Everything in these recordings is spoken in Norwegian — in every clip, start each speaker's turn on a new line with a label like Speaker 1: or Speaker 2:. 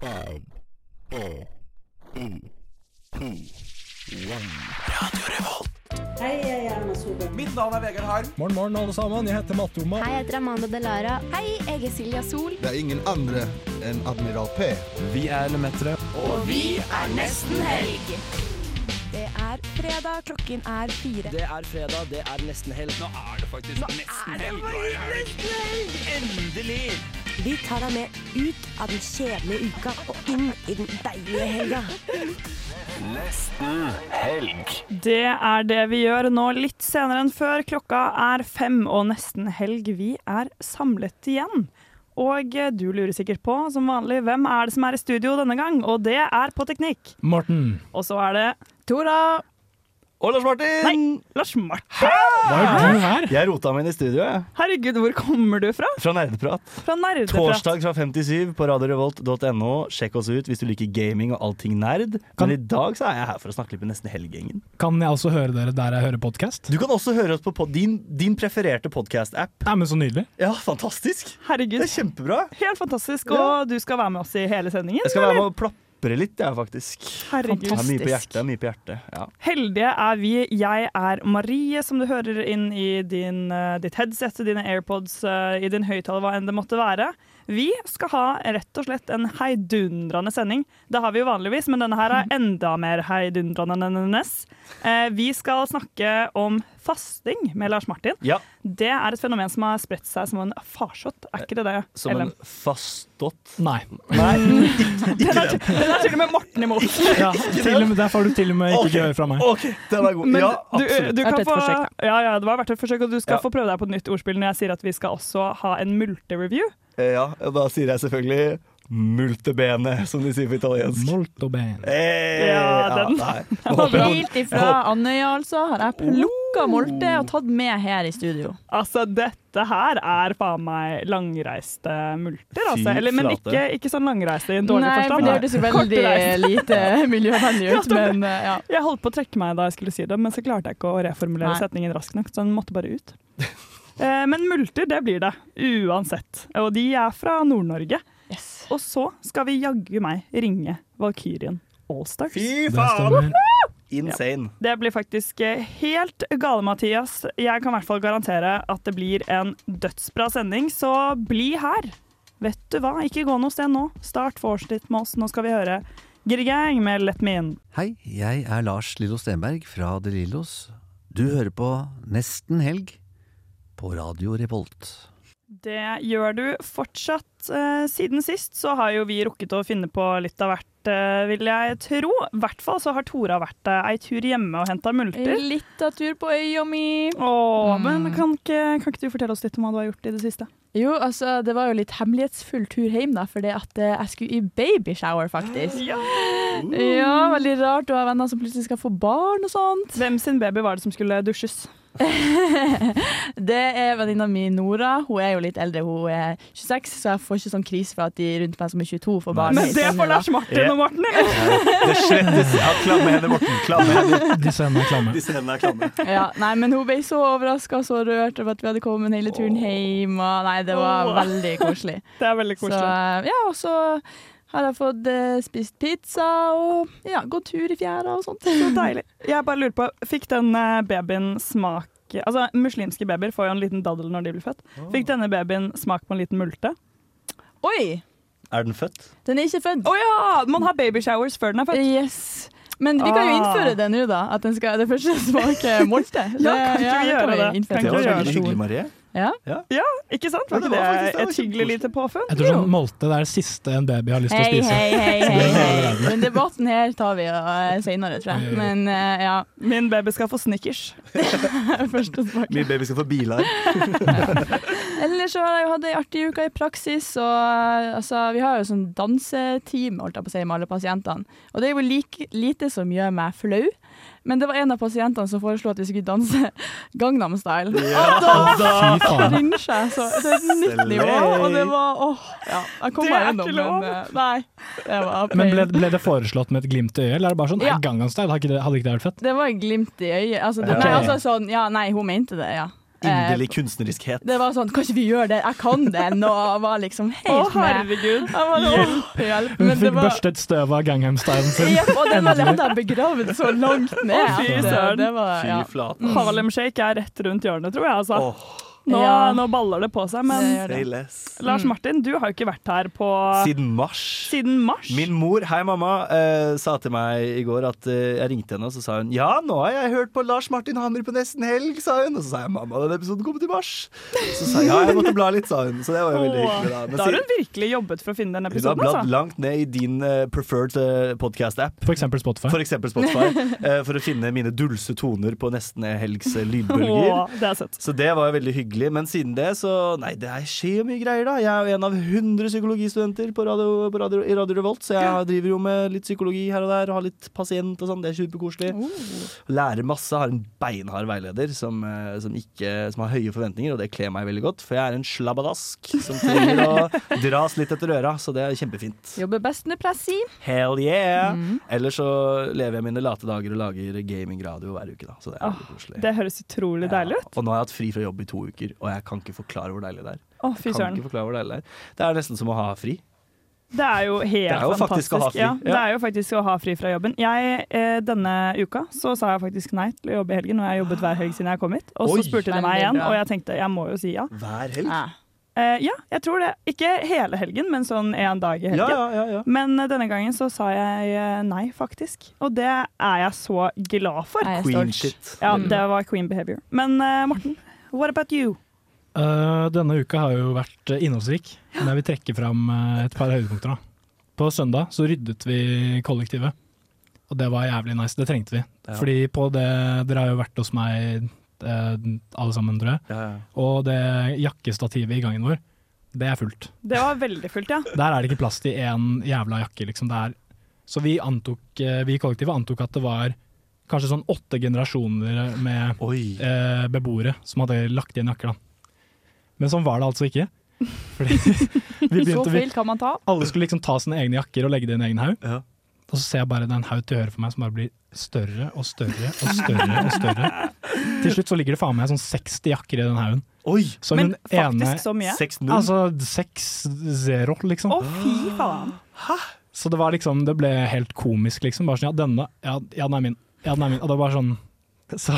Speaker 1: Five, four, three, two, one.
Speaker 2: Hei, jeg er Erna Solberg.
Speaker 3: Mitt navn er Vegard Harm.
Speaker 4: Morgen, morgen, alle sammen. Jeg heter Matte Oma.
Speaker 5: Hei, jeg heter Amanda Delara. Hei, jeg er Silja Sol.
Speaker 6: Det er ingen andre enn Admiral P.
Speaker 4: Vi er Lemetere.
Speaker 5: Det er fredag, klokken er fire.
Speaker 3: Det er fredag, det er nesten helg. Nå er det faktisk nesten helg. Endelig!
Speaker 7: Vi tar deg med ut av den kjedelige uka og inn i den deilige helga.
Speaker 8: Det er det vi gjør nå litt senere enn før. Klokka er fem og nesten helg. Vi er samlet igjen. Og eh, du lurer sikkert på, som vanlig, hvem er det som er i studio denne gang? Og det er på teknikk.
Speaker 4: Morten.
Speaker 8: Og så er det Tora.
Speaker 3: Og Lars Martin!
Speaker 8: Nei, Lars Martin.
Speaker 4: Hva gjør du her?
Speaker 3: Jeg rota meg inn i studio, jeg.
Speaker 8: Herregud, hvor kommer du fra?
Speaker 3: Fra Nerdeprat.
Speaker 8: Fra Nerdeprat.
Speaker 3: Torsdag fra 57 på radiorevolt.no. Sjekk oss ut hvis du liker gaming og allting nerd.
Speaker 4: Kan-
Speaker 3: Men i dag så er jeg her for å snakke litt med Nesten helg-gjengen.
Speaker 4: Kan jeg også høre dere der jeg hører podkast?
Speaker 3: Du kan også høre oss på pod din, din prefererte podkast-app.
Speaker 4: Nei, men så nydelig.
Speaker 3: Ja, fantastisk! Det
Speaker 8: Herregud,
Speaker 3: er kjempebra.
Speaker 8: helt fantastisk. Og du skal være med oss i hele sendingen?
Speaker 3: Jeg skal være
Speaker 8: eller?
Speaker 3: med og plapre litt, jeg, faktisk.
Speaker 8: Herregud.
Speaker 3: Jeg har mye på hjertet. jeg har Mye på hjertet. Ja.
Speaker 8: Heldige er vi. Jeg er Marie, som du hører inn i din, eh, ditt headset, dine AirPods, eh, i din høyttaler, hva enn det måtte være. Vi skal ha rett og slett en heidundrende sending. Det har vi jo vanligvis, men denne her er enda mer heidundrende enn hennes. Eh, Vi skal snakke om fasting med Lars Martin.
Speaker 3: ja,
Speaker 8: Det er et fenomen som har spredt seg som en farsott, er ikke det det?
Speaker 3: som
Speaker 8: Ellen?
Speaker 3: en fastått
Speaker 4: Nei.
Speaker 3: Nei,
Speaker 8: Den er, den er til og med Morten imot.
Speaker 4: Ja, til og med, der får du til og med ikke
Speaker 3: Ok.
Speaker 4: gehør fra meg.
Speaker 3: OK, den er god.
Speaker 8: Men
Speaker 3: ja,
Speaker 8: du,
Speaker 3: absolutt.
Speaker 8: du kan
Speaker 9: Verdt et
Speaker 8: få,
Speaker 9: forsøk,
Speaker 8: ja, ja, det var verdt et forsøk, og du skal
Speaker 3: Ja.
Speaker 8: få prøve deg på et nytt ordspill når jeg sier at vi skal også ha en multereview.
Speaker 3: Eh, Ja, og da sier jeg selvfølgelig multebene, som de sier på italiensk.
Speaker 4: Molto bene.
Speaker 3: Eh,
Speaker 8: Ja, den-
Speaker 3: nei. Nå håper jeg-
Speaker 9: Helt ifra Andøya, altså, har jeg plukka molte og tatt med her i studio.
Speaker 8: Altså, dette her er faen meg langreiste multer, altså.
Speaker 3: Fy
Speaker 8: Eller, men
Speaker 3: flate.
Speaker 8: ikke, ikke sånn langreiste i en dårlig
Speaker 9: Nei, for
Speaker 8: forstand.
Speaker 9: det hørtes jo veldig
Speaker 8: Kortreist.
Speaker 9: lite miljøvennlig ut,
Speaker 8: Ja, det-
Speaker 9: men eh, ja.
Speaker 8: Jeg holdt på å trekke meg da jeg skulle si det, men så klarte jeg ikke å reformulere
Speaker 9: Nei.
Speaker 8: setningen raskt nok, så den måtte bare ut. Eh, Men multer, det blir det. Uansett. Og de er fra Nord-Norge.
Speaker 9: Yes.
Speaker 8: Og så skal vi jaggu meg ringe Valkyrien Allstars.
Speaker 3: Fy
Speaker 4: Det
Speaker 3: faen!
Speaker 4: stemmer.
Speaker 3: Insane.
Speaker 8: Det blir faktisk eh, helt gale, Mathias. Jeg kan i hvert fall garantere at det blir en dødsbra sending, så bli her. Vet du hva, ikke gå noe sted nå. Start vorset ditt med oss. Nå skal vi høre Girgang med Let Me In.
Speaker 10: Hei, jeg er Lars Lillo Stenberg fra De Lillos. Du hører på Nesten helg på Radio Revolt.
Speaker 8: Det gjør du fortsatt. Eh, Siden sist så har jo vi rukket å finne på litt av hvert, eh, vil jeg tro. I hvert fall så har Tora vært eh, ei tur hjemme og henta multer.
Speaker 9: En lita tur på øya mi.
Speaker 8: Åh,
Speaker 9: Mm.
Speaker 8: men kan ikke, kan ikke du fortelle oss litt om hva du har gjort i det siste?
Speaker 9: Jo, altså, det var jo litt hemmelighetsfull tur hjem, da, fordi at eh, jeg skulle i babyshower, faktisk.
Speaker 8: Ja.
Speaker 9: Ja, veldig rart å ha venner som plutselig skal få barn og sånt.
Speaker 8: Hvem sin baby var det som skulle dusjes?
Speaker 9: Det er venninna mi Nora. Hun er jo litt eldre, hun er 26, så jeg får ikke sånn krise for at de rundt meg som er 22, får barn.
Speaker 8: Men det får Lars Martin og Morten, eller?
Speaker 3: Det slettes. Ja, klamme hender, Morten. Klamme hender.
Speaker 4: Disse hendene er klamme.
Speaker 3: Disse hendene er klamme.
Speaker 9: Ja, nei, men hun ble så overraska og så rørt over at vi hadde kommet hele turen hjem. Og nei, det var
Speaker 8: Åh.
Speaker 9: veldig koselig.
Speaker 8: Det er veldig
Speaker 9: Så,
Speaker 8: koselig.
Speaker 9: eh, ja, og så har jeg fått eh, spist pizza og ja, gått tur i fjæra og sånt.
Speaker 8: Så deilig. Jeg bare lurer på, fikk den eh, babyen smak Altså, muslimske babyer får jo en liten daddel når de blir født. Fikk denne babyen smak på en liten multe?
Speaker 9: Oi!
Speaker 3: Er den født?
Speaker 9: Den er ikke født.
Speaker 8: Å ja! Man har babyshowers før den er født.
Speaker 9: Yes. Men vi kan jo
Speaker 8: Ah.
Speaker 9: innføre det nå, da. At den skal, det første smaker molte.
Speaker 8: Ja, kan ikke vi gjøre det?
Speaker 9: innføre.
Speaker 8: Kan ikke vi gjøre det?
Speaker 3: Marie.
Speaker 9: Ja.
Speaker 8: Ikke sant?
Speaker 3: Ja,
Speaker 8: Var
Speaker 3: det
Speaker 8: ikke det,
Speaker 3: var faktisk- det var
Speaker 8: et hyggelig lite påfunn?
Speaker 4: Jeg tror sånn molte det er det siste en baby har lyst til å
Speaker 9: Hei,
Speaker 4: spise.
Speaker 9: hei, hei, hei,
Speaker 4: Det er
Speaker 9: hei.
Speaker 4: allerede.
Speaker 9: Den debatten her tar vi uh, seinere, tror jeg. Men eh, ja,
Speaker 8: Min baby skal få snickers.
Speaker 9: første smak.
Speaker 3: Min baby skal få biler.
Speaker 9: Ellers så har jeg jo hatt ei artig uke i praksis, og eh, altså, vi har jo sånn danseteam holdt jeg på å si, med alle pasientene. Og det er jo like, lite som gjør meg flau, men det var en av pasientene som foreslo at vi skulle danse Gangnam Style. Og da
Speaker 4: Fy faen.
Speaker 9: cringe jeg, så det er et nytt nivå, og det var åh, ja, jeg kom
Speaker 8: Det
Speaker 9: meg
Speaker 8: er
Speaker 9: gjennom,
Speaker 8: ikke lov.
Speaker 9: men eh, nei, det var
Speaker 4: Men ble,
Speaker 9: pain.
Speaker 4: ble det foreslått med et glimt i øyet, eller er det bare sånn
Speaker 9: Ja.
Speaker 4: ja. Gangnam Style? Hadde ikke det hadde ikke det vært fett?
Speaker 9: Det var glimt i øyet. Altså, det,
Speaker 4: Ok.
Speaker 9: Nei, altså sånn, ja, Eh, nei, hun mente det, ja.
Speaker 8: Eh,
Speaker 3: Inderlig kunstneriskhet.
Speaker 7: Det var sånn Kan ikke vi gjøre det? Jeg kan det! Nå var liksom
Speaker 8: Å,
Speaker 7: helt med.
Speaker 8: herregud.
Speaker 7: Jeg var,
Speaker 9: sånn,
Speaker 7: hjelp, hjelp.
Speaker 4: Hun
Speaker 7: Men det
Speaker 4: fikk
Speaker 7: var
Speaker 4: børstet støv av Gangham-stylen sin.
Speaker 7: Jepp, og den var- den hadde jeg begravd så langt ned.
Speaker 8: Å, fy
Speaker 7: at det-
Speaker 8: søren.
Speaker 7: Det var, ja.
Speaker 3: Fy flate.
Speaker 8: Harlem Shake er rett rundt hjørnet, tror jeg. Altså.
Speaker 3: Mm. Åh,
Speaker 8: Nå,
Speaker 7: Ja.
Speaker 8: nå baller det på seg. Men
Speaker 7: Det gjør
Speaker 3: say less.
Speaker 8: Lars Martin, du har jo ikke vært her på
Speaker 3: Siden mars.
Speaker 8: siden mars.
Speaker 3: Min mor, hei mamma, eh, sa til meg i går at eh, jeg ringte henne, og så sa hun ja, nå har jeg hørt på Lars Martin Hammer på nesten helg, sa hun. Og så sa jeg mamma, den episoden kommer til mars. Så sa jeg ja, jeg måtte bla litt, sa hun. Så det var jo veldig
Speaker 8: Åh,
Speaker 3: hyggelig, da.
Speaker 8: da har hun virkelig jobbet for å finne den
Speaker 3: hun har
Speaker 8: episoden,
Speaker 3: bladd
Speaker 8: altså.
Speaker 3: langt ned i din eh, preferred eh, podcast-app.
Speaker 4: For eksempel Spotify.
Speaker 3: For eksempel Spotify, eh, for å finne mine dulse toner på nesten helgs eh, lydbølger.
Speaker 8: Åh, det er søtt.
Speaker 3: Så det var veldig hyggelig, men siden det så Nei, det er- skjer jo mye greier, da. Jeg er jo en av 100 psykologistudenter på radio, på radio, i Radio Revolt, så jeg driver jo med litt psykologi her og der, og har litt pasient og sånn. Det er superkoselig.
Speaker 8: Oh.
Speaker 3: Lærer masse, har en beinhard veileder som, eh, som, ikke, som har høye forventninger, og det kler meg veldig godt, for jeg er en slabbadask som trenger å dras litt etter øra, så det er kjempefint.
Speaker 7: Jobber best under press i.
Speaker 3: Hell yeah!
Speaker 8: Mm.
Speaker 3: Ellers så lever jeg mine late dager og lager gamingradio hver uke, da, så det er veldig koselig.
Speaker 8: Det høres utrolig deilig ut.
Speaker 3: Ja, og nå har jeg hatt fri fra jobb i to uker, og jeg kan ikke forklare hvor deilig det er.
Speaker 8: Å, fy
Speaker 3: Kan
Speaker 8: søren.
Speaker 3: ikke forklare hvor deilig Det er Det er nesten som å ha fri.
Speaker 8: Det er jo helt
Speaker 3: er jo
Speaker 8: fantastisk.
Speaker 3: faktisk å ha fri.
Speaker 8: Ja,
Speaker 3: Ja.
Speaker 8: det er jo faktisk å ha fri fra jobben. Jeg, eh, denne uka så sa jeg faktisk nei til å jobbe i helgen, og jeg har jobbet hver helg siden jeg kom hit. Og
Speaker 3: Oi.
Speaker 8: så spurte de meg
Speaker 7: Veldig
Speaker 8: igjen,
Speaker 7: bra.
Speaker 8: og jeg tenkte jeg må jo si ja.
Speaker 3: Hver helg.
Speaker 7: Ja.
Speaker 8: Eh, ja, jeg tror det. Ikke hele helgen, men sånn en dag i helgen.
Speaker 3: Ja, ja, ja, ja.
Speaker 8: Men eh, denne gangen så sa jeg eh, nei, faktisk. Og det er jeg så glad for.
Speaker 7: Jeg er
Speaker 3: Queen
Speaker 7: stolt.
Speaker 3: shit.
Speaker 8: Ja, det var queen behavior. Men eh, Morten, what about you?
Speaker 4: Eh, denne uka har jo vært eh, innholdsrik, men jeg vil trekke fram eh, et par høydepunkter. da. På søndag så ryddet vi kollektivet, og det var jævlig nice. Det trengte vi.
Speaker 3: Ja.
Speaker 4: Fordi på det, Dere har jo vært hos meg eh, alle sammen, tror jeg.
Speaker 3: Ja, ja.
Speaker 4: Og det jakkestativet i gangen vår, det er fullt.
Speaker 8: Det var veldig fullt, ja.
Speaker 4: Der er det ikke plass til én jævla jakke, liksom. Det er, så vi, antok, eh, vi i kollektivet antok at det var kanskje sånn åtte generasjoner med
Speaker 3: Oi.
Speaker 4: eh, beboere som hadde lagt igjen jakker. Da. Men sånn var det altså ikke. Fordi vi
Speaker 7: Så
Speaker 4: begynte, vi,
Speaker 7: feil kan man ta.
Speaker 4: alle skulle liksom ta sine egne jakker og legge det i en egen haug.
Speaker 3: Ja.
Speaker 4: Og så ser jeg bare det er en haug til høyre for meg som bare blir større og større og større. og større. Til slutt så ligger det faen meg sånn 60 jakker i den haugen.
Speaker 3: Oi!
Speaker 4: Så
Speaker 8: Men
Speaker 4: hun ene
Speaker 8: faktisk så mye.
Speaker 3: 6-0.
Speaker 4: Altså 6-0, liksom.
Speaker 8: Å, fy faen.
Speaker 4: Så det var liksom, det ble helt komisk, liksom. Bare sånn, ja, denne, ja, ja den er min. Ja, den er min. Og det var sånn så,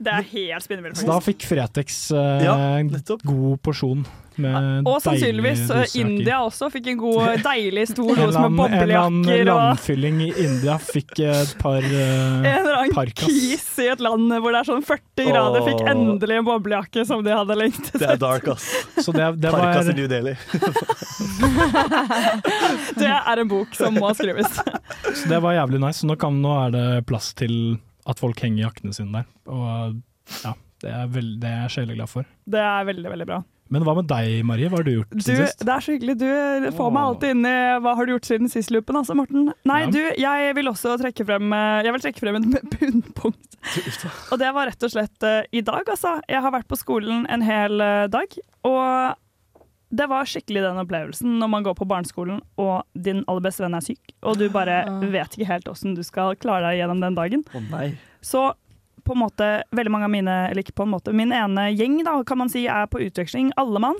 Speaker 8: Det er helt spinnvilt.
Speaker 4: så da fikk Fretex eh,
Speaker 3: Ja,
Speaker 4: en
Speaker 3: nettopp.
Speaker 4: god porsjon med
Speaker 8: Og sannsynligvis eh,
Speaker 4: deilige doser jakker.
Speaker 8: India også fikk en god, deilig stor
Speaker 4: En eller
Speaker 8: dose med
Speaker 4: annen- En eller annen
Speaker 8: boblejakker og
Speaker 4: landfylling i India fikk et par
Speaker 8: en
Speaker 4: eh,
Speaker 8: eller annen
Speaker 4: parkas.
Speaker 8: kis i et land hvor det er sånn 40 grader, fikk
Speaker 3: Åh.
Speaker 8: endelig en boblejakke som de hadde lengtet
Speaker 3: Det er dark, ass.
Speaker 4: Så det, det var
Speaker 3: Parkas i New Delhi.
Speaker 8: Det er en bok som må skrives.
Speaker 4: Så det var jævlig nice. Så Nå, kan, nå er det plass til at folk henger jakkene sine der. Og ja, det er, vel, det er jeg sjeleglad for.
Speaker 8: Det er veldig, veldig bra.
Speaker 4: Men hva med deg, Marie? Hva har du gjort
Speaker 8: Du,
Speaker 4: siden sist?
Speaker 8: det er så hyggelig. Du får meg alltid inn i hva har du gjort siden sist loopen, altså, Morten. Nei,
Speaker 4: Ja.
Speaker 8: du, jeg vil også trekke frem eh, Jeg vil trekke frem et bunnpunkt. Og det var rett og slett eh, i dag, altså. Jeg har vært på skolen en hel eh, dag. Og det var skikkelig den opplevelsen når man går på barneskolen og din aller beste venn er syk, og du bare vet ikke helt åssen du skal klare deg gjennom den dagen.
Speaker 3: Å nei.
Speaker 8: Så på en måte, veldig mange av mine, eller ikke på en måte, min ene gjeng da, kan man si er på utveksling, alle mann.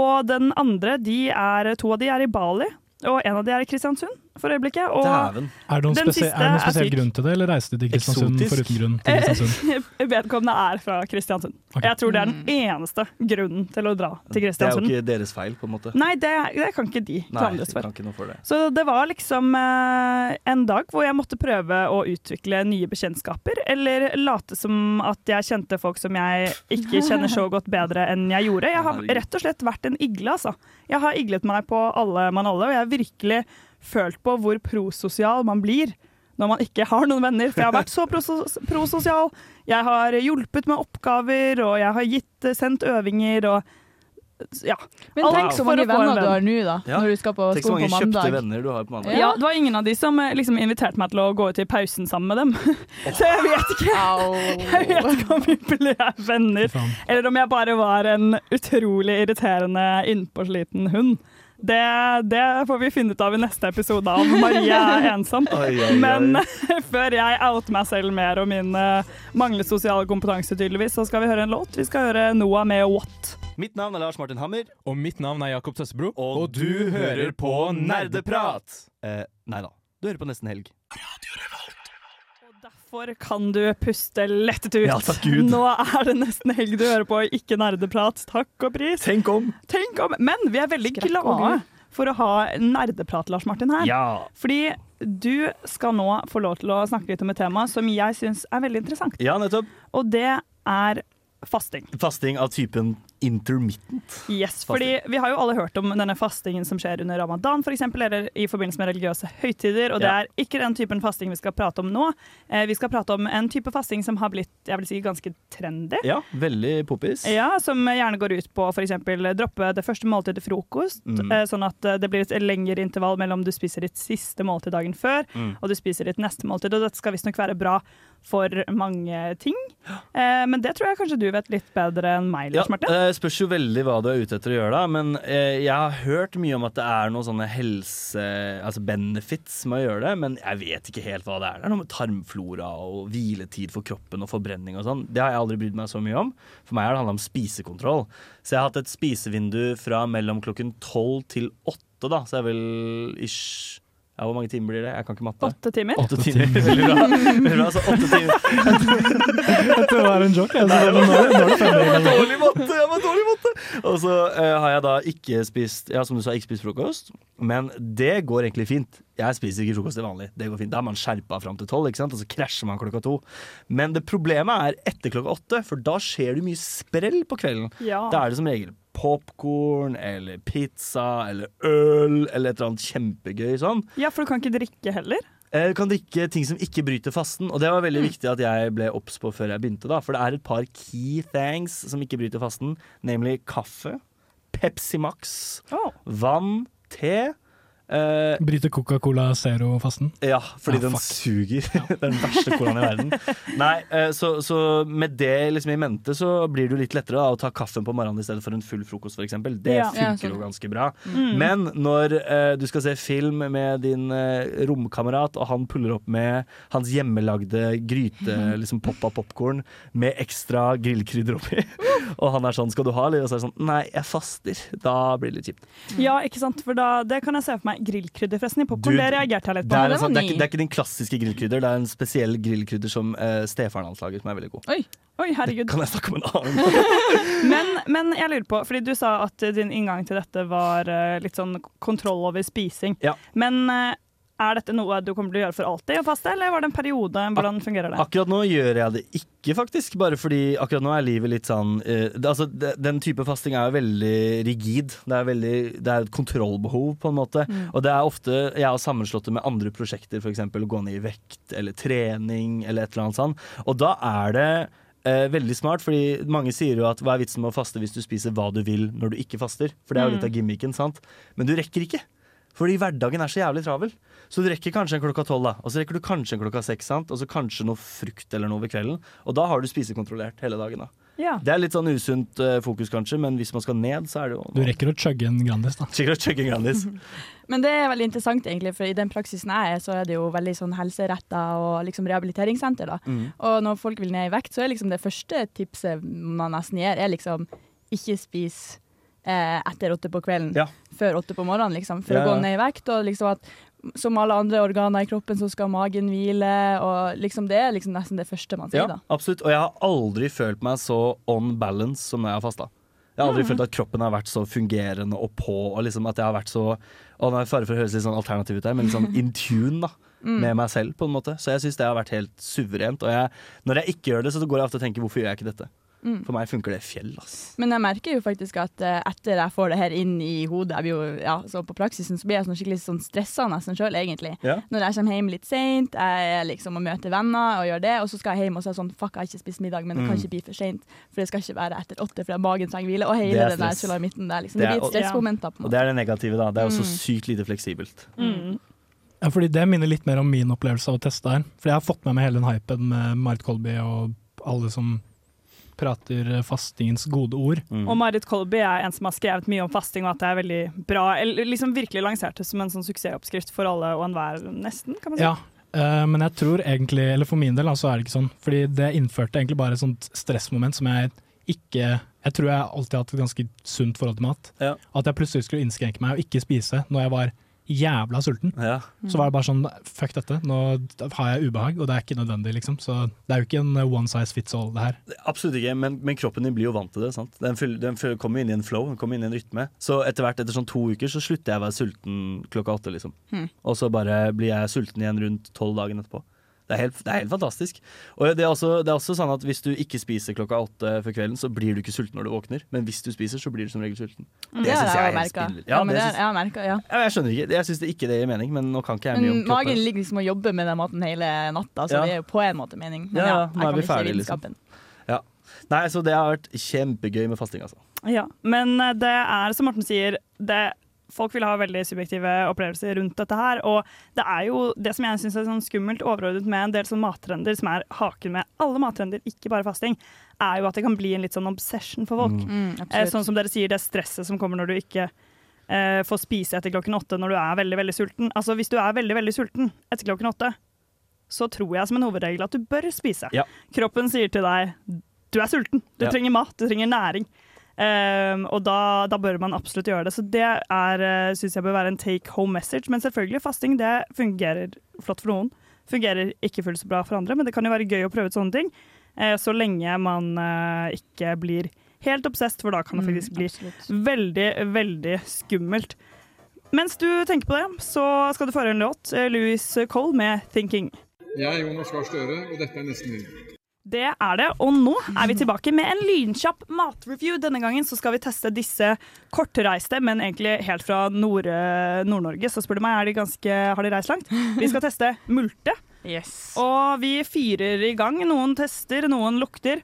Speaker 8: Og den andre, de er, to av de er i Bali, og en av de er i Kristiansund for øyeblikket. Og
Speaker 3: Dæven.
Speaker 4: Er det noen,
Speaker 8: Den siste
Speaker 4: spesiell- er det noen
Speaker 8: er
Speaker 4: spesiell
Speaker 8: syk.
Speaker 4: grunn til det, eller reiste de til Kristiansund
Speaker 3: Eksotisk.
Speaker 4: foruten grunn? til Kristiansund?
Speaker 8: vedkommende er fra Kristiansund.
Speaker 4: Ok.
Speaker 8: Jeg tror det er den eneste grunnen til å dra til
Speaker 3: Mm. Det er jo
Speaker 8: Kristiansund.
Speaker 3: ikke deres feil, på en måte.
Speaker 8: Nei, det, det kan ikke de
Speaker 3: Nei,
Speaker 8: klandres
Speaker 3: jeg
Speaker 8: for.
Speaker 3: kan ikke noe for det.
Speaker 8: Så det var liksom eh, en dag hvor jeg måtte prøve å utvikle nye bekjentskaper, eller late som at jeg kjente folk som jeg ikke kjenner så godt bedre enn jeg gjorde. Jeg har
Speaker 3: Herregud.
Speaker 8: rett og slett vært en igle, altså. Jeg har iglet meg på alle mann alle, og jeg har virkelig følt på hvor prososial man blir når man ikke har noen venner, for jeg har vært så prosos- prososial. Jeg har hjulpet med oppgaver, og jeg har gitt, sendt øvinger, og ja.
Speaker 7: Men
Speaker 8: Alt
Speaker 7: tenk så
Speaker 8: for å
Speaker 7: mange
Speaker 8: få en
Speaker 7: venner du
Speaker 8: venn.
Speaker 7: har nå, da.
Speaker 3: Ja.
Speaker 7: Når du skal på
Speaker 3: Tenk så
Speaker 7: skolen
Speaker 3: mange
Speaker 7: på
Speaker 3: kjøpte
Speaker 7: mandag.
Speaker 3: venner du har på mandag.
Speaker 7: Ja.
Speaker 8: Ja, det var ingen av de som eh, liksom, inviterte meg til å gå ut i pausen sammen med dem. Så jeg vet ikke,
Speaker 7: Au.
Speaker 8: jeg vet ikke om vi ble venner,
Speaker 4: Fy faen.
Speaker 8: eller om jeg bare var en utrolig irriterende innpåsliten hund Det, det får vi finne ut av i neste episode av Marie er ensom.
Speaker 3: Oi, oi, oi.
Speaker 8: Men før jeg outer meg selv mer og min eh, manglende sosiale kompetanse, tydeligvis, så skal vi høre en låt. Vi skal høre Noah med What.
Speaker 3: Mitt navn er Lars Martin Hammer.
Speaker 11: Og mitt navn er Jakob Tøssebro.
Speaker 3: Og,
Speaker 11: du hører på Nerdeprat!
Speaker 3: Eh, nei da. Du hører på Nesten Helg.
Speaker 8: For kan du puste lettet ut?
Speaker 3: Ja, takk Gud.
Speaker 8: Nå er det nesten helg du hører på, ikke nerdeprat. Takk og pris.
Speaker 3: Tenk om.
Speaker 8: Tenk om. Men vi er veldig
Speaker 7: Skrekk og
Speaker 8: glade
Speaker 7: gru.
Speaker 8: for å ha nerdeprat, Lars Martin, her.
Speaker 3: Ja.
Speaker 8: Fordi du skal nå få lov til å snakke litt om et tema som jeg syns er veldig interessant.
Speaker 3: Ja, nettopp.
Speaker 8: Og det er fasting.
Speaker 3: Fasting av typen intermittent.
Speaker 8: Yes,
Speaker 3: Fasting.
Speaker 8: fordi Vi har jo alle hørt om denne fastingen som skjer under ramadan for eksempel, eller i forbindelse med religiøse høytider. og Det
Speaker 3: Ja.
Speaker 8: er ikke den typen fasting vi skal prate om nå. Eh, vi skal prate om en type fasting som har blitt jeg vil si, ganske trendy.
Speaker 3: Ja, veldig poppis.
Speaker 8: Ja, Som gjerne går ut på f.eks. droppe det første måltidet frokost,
Speaker 3: Mm.
Speaker 8: eh, sånn at eh, det blir et lengre intervall mellom du spiser ditt siste måltid dagen før
Speaker 3: Mm.
Speaker 8: og du spiser ditt neste måltid. og Dette skal visstnok være bra for mange ting. Eh, men det tror jeg kanskje du vet litt bedre enn meg,
Speaker 3: Ja,
Speaker 8: Lars Martin.
Speaker 3: eh, spørs jo veldig hva du er ute etter å gjøre, da. Men eh, jeg har hørt mye om at det er noen sånne helse... Altså benefits med å gjøre det, men jeg vet ikke helt hva det er. Det er noe med tarmflora og hviletid for kroppen og forbrenning og sånn. Det har jeg aldri brydd meg så mye om. For meg har det handla om spisekontroll. Så jeg har hatt et spisevindu fra mellom klokken tolv til åtte, da. Så jeg er vel ish Ja, hvor mange timer blir det? Jeg kan ikke matte.
Speaker 8: Åtte timer.
Speaker 3: Åtte timer. Veldig bra. Veldig bra. Så åtte timer.
Speaker 4: Det var en joke. Altså, nå, er- nå er det ferdig.
Speaker 3: Jeg var dårlig i matte! Jeg var dårlig i matte! Og så eh, har jeg da ikke spist Ja, som du sa, ikke spist frokost. Men det går egentlig fint. Jeg spiser ikke frokost til vanlig. Det går fint. Da er man skjerpa fram til tolv, ikke sant? og så krasjer man klokka to. Men det problemet er etter klokka åtte, for da skjer det mye sprell på kvelden.
Speaker 8: Ja.
Speaker 3: Da er det som regel popkorn eller pizza eller øl eller et eller annet kjempegøy sånn.
Speaker 8: Ja, for du kan ikke drikke heller.
Speaker 3: Eh, Du kan drikke ting som ikke bryter fasten, og det var veldig viktig at jeg ble obs på før jeg begynte. da For det er et par key things som ikke bryter fasten, nemlig kaffe, Pepsi Max,
Speaker 8: Oh.
Speaker 3: vann, te. Eh,
Speaker 4: Bryter Coca-Cola Zero-fasten.
Speaker 3: ja, fordi
Speaker 4: Ah,
Speaker 3: den
Speaker 4: fuck.
Speaker 3: suger. det er den verste colaen i verden. Nei, eh, så, så med det liksom i mente så blir det jo litt lettere da, å ta kaffen på morgenen i stedet for en full frokost, f.eks. Det
Speaker 8: Ja.
Speaker 3: funker
Speaker 7: Ja, sånn.
Speaker 3: jo ganske bra. Men når eh, du skal se film med din eh, romkamerat, og han puller opp med hans hjemmelagde gryte, liksom poppa popkorn, med ekstra grillkrydder oppi, og han er sånn 'skal du ha', eller? Og så er det sånn 'nei, jeg faster'. Da blir det litt kjipt.
Speaker 8: Ja, ikke sant? For da, det kan jeg se for meg. Grillkrydder, forresten. I popkorn,
Speaker 3: Du-
Speaker 8: det reagerte jeg litt
Speaker 3: Det
Speaker 8: på.
Speaker 3: er,
Speaker 7: det
Speaker 3: en sånn,
Speaker 7: var
Speaker 3: det, er
Speaker 7: ny.
Speaker 3: ikke, det er ikke din klassiske grillkrydder, det er en spesiell grillkrydder som eh, stefaren hans lager, som er veldig god.
Speaker 7: Oi.
Speaker 8: Oi, herregud.
Speaker 3: Kan jeg snakke om en annen?
Speaker 8: Men, men jeg lurer på, fordi du sa at din inngang til dette var eh, litt sånn kontroll over spising.
Speaker 3: Ja.
Speaker 8: Men eh, er dette noe du kommer til å gjøre for alltid å faste, eller var det en periode? Hvordan fungerer det?
Speaker 3: Akkurat nå gjør jeg det ikke, faktisk. Bare fordi akkurat nå er livet litt sånn eh, det- Altså, det, den type fasting er jo veldig rigid. Det er, veldig, det er et kontrollbehov, på en måte. Og det er ofte Jeg har sammenslått det med andre prosjekter, f.eks. gå ned i vekt eller trening eller et eller annet sånn. Og da er det Eh, veldig smart, fordi mange sier jo at hva er vitsen med å faste hvis du spiser hva du vil når du ikke faster? For det er jo litt av gimmicken, sant? Men du rekker ikke. Fordi hverdagen er så jævlig travel. Så du rekker kanskje en klokka tolv, da. Og så rekker du kanskje en klokka seks, sant? og så kanskje noe frukt eller noe ved kvelden. Og da har du spisekontrollert hele dagen, da.
Speaker 8: Ja.
Speaker 3: Det er litt sånn usunt eh, fokus, kanskje, men hvis man skal ned, så er det jo
Speaker 4: Du rekker å chugge en Grandis, da.
Speaker 3: Sikkert å chugge en Grandis.
Speaker 7: Men det er veldig interessant, egentlig, for i den praksisen jeg er, så er det jo veldig sånn helseretta og liksom rehabiliteringssenter. da. Og når folk vil ned i vekt, så er liksom det første tipset man nesten gir, er liksom ikke spis eh, etter åtte på kvelden,
Speaker 3: Ja.
Speaker 7: før åtte på morgenen, liksom, for
Speaker 3: Ja,
Speaker 7: å
Speaker 3: ja.
Speaker 7: gå ned i vekt. Og liksom at som alle andre organer i kroppen, så skal magen hvile, og liksom det er liksom nesten det første man sier,
Speaker 3: Ja,
Speaker 7: da.
Speaker 3: absolutt. Og jeg har aldri følt meg så on balance som når jeg har fasta. Jeg har aldri
Speaker 7: Mm.
Speaker 3: følt at kroppen har vært så fungerende og på, og liksom at jeg har vært så Og nå er jeg fare for å høres litt sånn alternativ ut her, men litt sånn in tune, da.
Speaker 7: Mm.
Speaker 3: Med meg selv, på en måte. Så jeg syns det har vært helt suverent. Og jeg, når jeg ikke gjør det, så går jeg ofte og tenker hvorfor gjør jeg ikke dette? For meg funker det fjell, ass.
Speaker 7: Mm. Men jeg merker jo faktisk at eh, etter jeg får det her inn i hodet, jeg blir jo, ja, så på praksisen, så blir jeg sånn skikkelig sånn stressa nesten sjøl, egentlig.
Speaker 3: Ja.
Speaker 7: Når jeg kommer hjem litt seint, jeg er liksom og møter venner og gjør det, og så skal jeg hjem og så er jeg sånn fuck, jeg har ikke spist middag, men det kan ikke bli for seint, for det skal ikke være etter åtte, for magen trenger hvile, og
Speaker 3: Mm. Det
Speaker 7: hele
Speaker 3: er
Speaker 7: den der
Speaker 3: stress.
Speaker 7: sulla midten der, liksom.
Speaker 3: Det
Speaker 7: Det
Speaker 3: er-
Speaker 7: blir et stressmoment da, på en
Speaker 3: Og
Speaker 7: måte.
Speaker 3: det er det negative, da. Det er jo
Speaker 9: Mm.
Speaker 3: så sykt lite fleksibelt.
Speaker 8: Mm.
Speaker 4: Ja, fordi Det minner litt mer om min opplevelse av å teste her. For jeg har fått med meg hele den hypen med Marit Kolby og alle som prater fastingens gode ord.
Speaker 3: Mm.
Speaker 8: Og Marit Kolby er en som har skrevet mye om fasting, og at det er veldig bra. Eller liksom virkelig lansert det som en sånn suksessoppskrift for alle og enhver, nesten, kan man si.
Speaker 4: Ja, eh, men jeg tror egentlig, eller for min del, da, så er det ikke sånn. Fordi det innførte egentlig bare et sånt stressmoment som jeg ikke Jeg tror jeg alltid har hatt et ganske sunt forhold til mat. At jeg plutselig skulle innskrenke meg og ikke spise når jeg var jævla sulten.
Speaker 9: Mm.
Speaker 4: Så var det bare sånn fuck dette, nå har jeg ubehag, og det er ikke nødvendig, liksom. Så det er jo ikke en eh, one size fits all, det her.
Speaker 3: Absolutt ikke, men, men kroppen din blir jo vant til det. sant? Den, fyll- den fyll- kommer inn i en flow, den kommer inn i en rytme. Så etter hvert, etter sånn to uker, så slutter jeg å være sulten klokka åtte, liksom.
Speaker 12: Hmm.
Speaker 9: Mm.
Speaker 3: Og så bare blir jeg sulten igjen rundt tolv dagen etterpå. Det er, helt, det er helt fantastisk. Og det er, også, det er også sånn at Hvis du ikke spiser klokka åtte før kvelden, så blir du ikke sulten når du våkner. Men hvis du spiser, så blir du som regel sulten.
Speaker 9: Mm.
Speaker 3: synes
Speaker 9: Det, har jeg
Speaker 3: er
Speaker 9: også
Speaker 3: helt
Speaker 9: merket.
Speaker 3: spinnvilt.
Speaker 9: Ja, men
Speaker 3: det
Speaker 9: det,
Speaker 3: synes-
Speaker 9: jeg har merket, ja.
Speaker 3: Ja, men Jeg skjønner ikke, jeg syns det ikke det gir mening, men nå kan ikke jeg mye om
Speaker 9: Men
Speaker 3: kroppen.
Speaker 9: magen ligger liksom og jobber med den maten hele natta, så
Speaker 3: Ja.
Speaker 9: det er jo på en måte mening. Men
Speaker 3: Ja,
Speaker 9: ja,
Speaker 3: ja,
Speaker 9: jeg
Speaker 3: nå er
Speaker 9: kan
Speaker 3: vi
Speaker 9: ikke
Speaker 3: ferdig, liksom.
Speaker 9: vitenskapen.
Speaker 3: Ja. Nei, så det har vært kjempegøy med fasting, altså.
Speaker 8: Ja, men eh, det er som Morten sier, det, folk vil ha veldig subjektive opplevelser rundt dette her, og det er jo det som jeg synes er sånn skummelt overordnet med en del sånn mattrender, som er haken med alle mattrender, ikke bare fasting, er jo at det kan bli en litt sånn obsession for folk.
Speaker 9: Mm. Mm, absolutt.
Speaker 8: Eh, sånn som dere sier, det er stresset som kommer når du ikke eh, får spise etter klokken åtte når du er veldig, veldig sulten. Altså, hvis du er veldig, veldig sulten etter klokken åtte, så tror jeg som en hovedregel at du bør spise.
Speaker 3: Ja.
Speaker 8: Kroppen sier til deg du er sulten, du
Speaker 3: Ja.
Speaker 8: trenger mat, du trenger næring. Ehm, og da, da bør man absolutt gjøre det. Så det er, eh, synes jeg bør være en take home message. Men selvfølgelig, fasting det fungerer flott for noen. Fungerer ikke fullt så bra for andre, men det kan jo være gøy å prøve ut sånne ting. eh, så lenge man eh, ikke blir helt obsesst, for da kan det
Speaker 9: Mm,
Speaker 8: faktisk bli veldig, veldig skummelt. Mens du tenker på det, så skal du få høre en låt. eh, Louis Cole med 'Thinking'.
Speaker 13: Jeg er Jonas Gahr Støre, og dette er Nesten Liv.
Speaker 8: Det er det, og nå er vi tilbake med en lynkjapp matreview. Denne gangen så skal vi teste disse kortreiste, men egentlig helt fra Nord- Nord-Norge. så spør du meg, er de ganske, har de reist langt? Vi skal teste multe. Og vi fyrer i gang. Noen tester, noen lukter.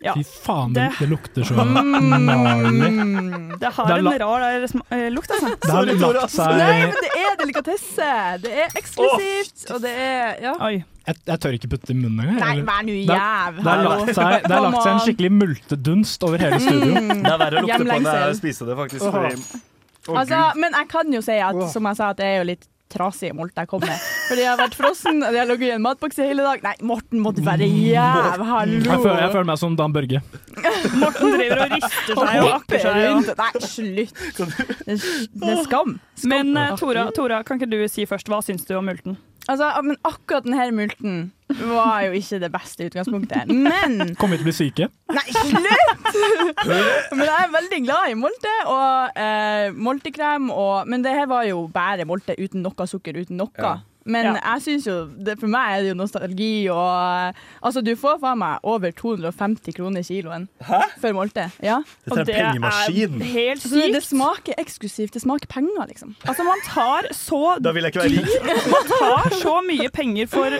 Speaker 8: Ja.
Speaker 4: Fy faen, det,
Speaker 8: Det-
Speaker 4: det lukter så
Speaker 9: Mm.
Speaker 7: Mm.
Speaker 4: gnarlig.
Speaker 8: Det har
Speaker 4: Det er
Speaker 8: en
Speaker 4: la-
Speaker 8: rar eh, sm- eh, lukt, altså.
Speaker 4: Det har Sorry, Tora. lagt seg-
Speaker 9: Nei, men det er delikatesse! Det er eksklusivt, og det er ja.
Speaker 4: Jeg, jeg tør ikke putte det i munnen engang.
Speaker 9: Nei,
Speaker 4: eller?
Speaker 9: vær nå
Speaker 4: Det er-
Speaker 9: jæv,
Speaker 4: Det har
Speaker 9: hallo.
Speaker 4: lagt seg, det har
Speaker 9: Come
Speaker 4: lagt seg en
Speaker 9: on.
Speaker 4: skikkelig multedunst over hele studio.
Speaker 9: Mm.
Speaker 3: Det er verre å lukte på enn det er
Speaker 9: Hjemlengsel.
Speaker 3: å spise det, faktisk.
Speaker 9: Åh.
Speaker 3: Fordi, Å,
Speaker 9: Altså,
Speaker 3: Gud.
Speaker 9: men jeg kan jo si at som jeg sa, at jeg er jo litt trasig i molta jeg kom med. For de har vært frossen, og de har ligget i en matboks i hele dag. Nei, Morten måtte være jæv,
Speaker 4: Jeg føler, jeg
Speaker 9: hallo!
Speaker 4: føler meg som Dan Børge.
Speaker 8: Morten driver og rister seg og
Speaker 9: hopper
Speaker 8: akker seg. og-
Speaker 9: rundt. Nei, slutt. Det er- det er skam.
Speaker 8: Men eh, Tora, Tora, kan ikke du si først, hva syns du om multen?
Speaker 9: Altså, ja, men akkurat denne multen var jo ikke det beste utgangspunktet. Men
Speaker 4: Kommer vi til å bli syke?
Speaker 9: Nei, slutt! men jeg er veldig glad i molte og eh, moltekrem. Og, men det her var jo bare molte uten noe sukker, uten noe.
Speaker 14: Ja.
Speaker 9: Men
Speaker 14: Ja.
Speaker 9: jeg synes jo, det, for meg er det jo nostalgi og Altså, du får faen meg over 250 kroner kiloen for molte. Ja.
Speaker 3: Dette er Og en det er pengemaskin. helt
Speaker 9: Så Det smaker eksklusivt. Det smaker penger, liksom.
Speaker 8: Altså, man tar så
Speaker 3: Da vil jeg ikke være rik.
Speaker 8: Man tar så mye penger for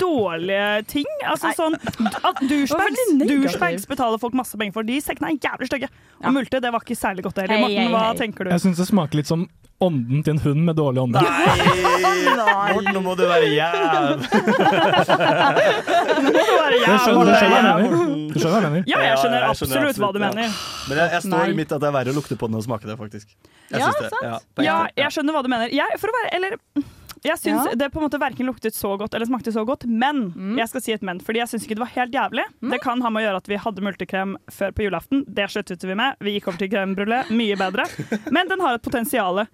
Speaker 8: dårlige ting. Altså sånn at douchebags, douchebags betaler folk masse penger for. De sekkene er jævlig stygge. Og multe, det var ikke særlig godt heller.
Speaker 9: Hei,
Speaker 8: Morten,
Speaker 9: hei,
Speaker 8: hva
Speaker 9: hei.
Speaker 8: tenker du?
Speaker 4: Jeg syns det smaker litt som ånden til en hund med dårlig ånde.
Speaker 3: Morten, nå må du være jæv.
Speaker 8: Nå må du være
Speaker 4: Du skjønner,
Speaker 8: jævlig.
Speaker 4: du skjønner hva jeg mener. Du skjønner hva jeg mener.
Speaker 8: Ja, jeg skjønner absolutt hva du
Speaker 3: ja.
Speaker 8: mener.
Speaker 3: Men jeg, jeg står
Speaker 8: Nei.
Speaker 3: i mitt at det er verre å lukte på den enn å smake det, faktisk. Jeg
Speaker 8: Ja,
Speaker 3: syns det.
Speaker 8: sant.
Speaker 3: Ja, på
Speaker 8: Ja,
Speaker 3: ekte.
Speaker 8: jeg skjønner hva du mener. Jeg, for å være, eller, jeg syns
Speaker 9: Ja.
Speaker 8: det på en måte verken luktet så godt eller smakte så godt, men jeg skal si et men, fordi jeg syns ikke det var helt jævlig. Det kan ha med å gjøre at vi hadde multekrem før på julaften. Det sluttet vi med. Vi gikk over til krembrulé, mye bedre. Men den har et potensial.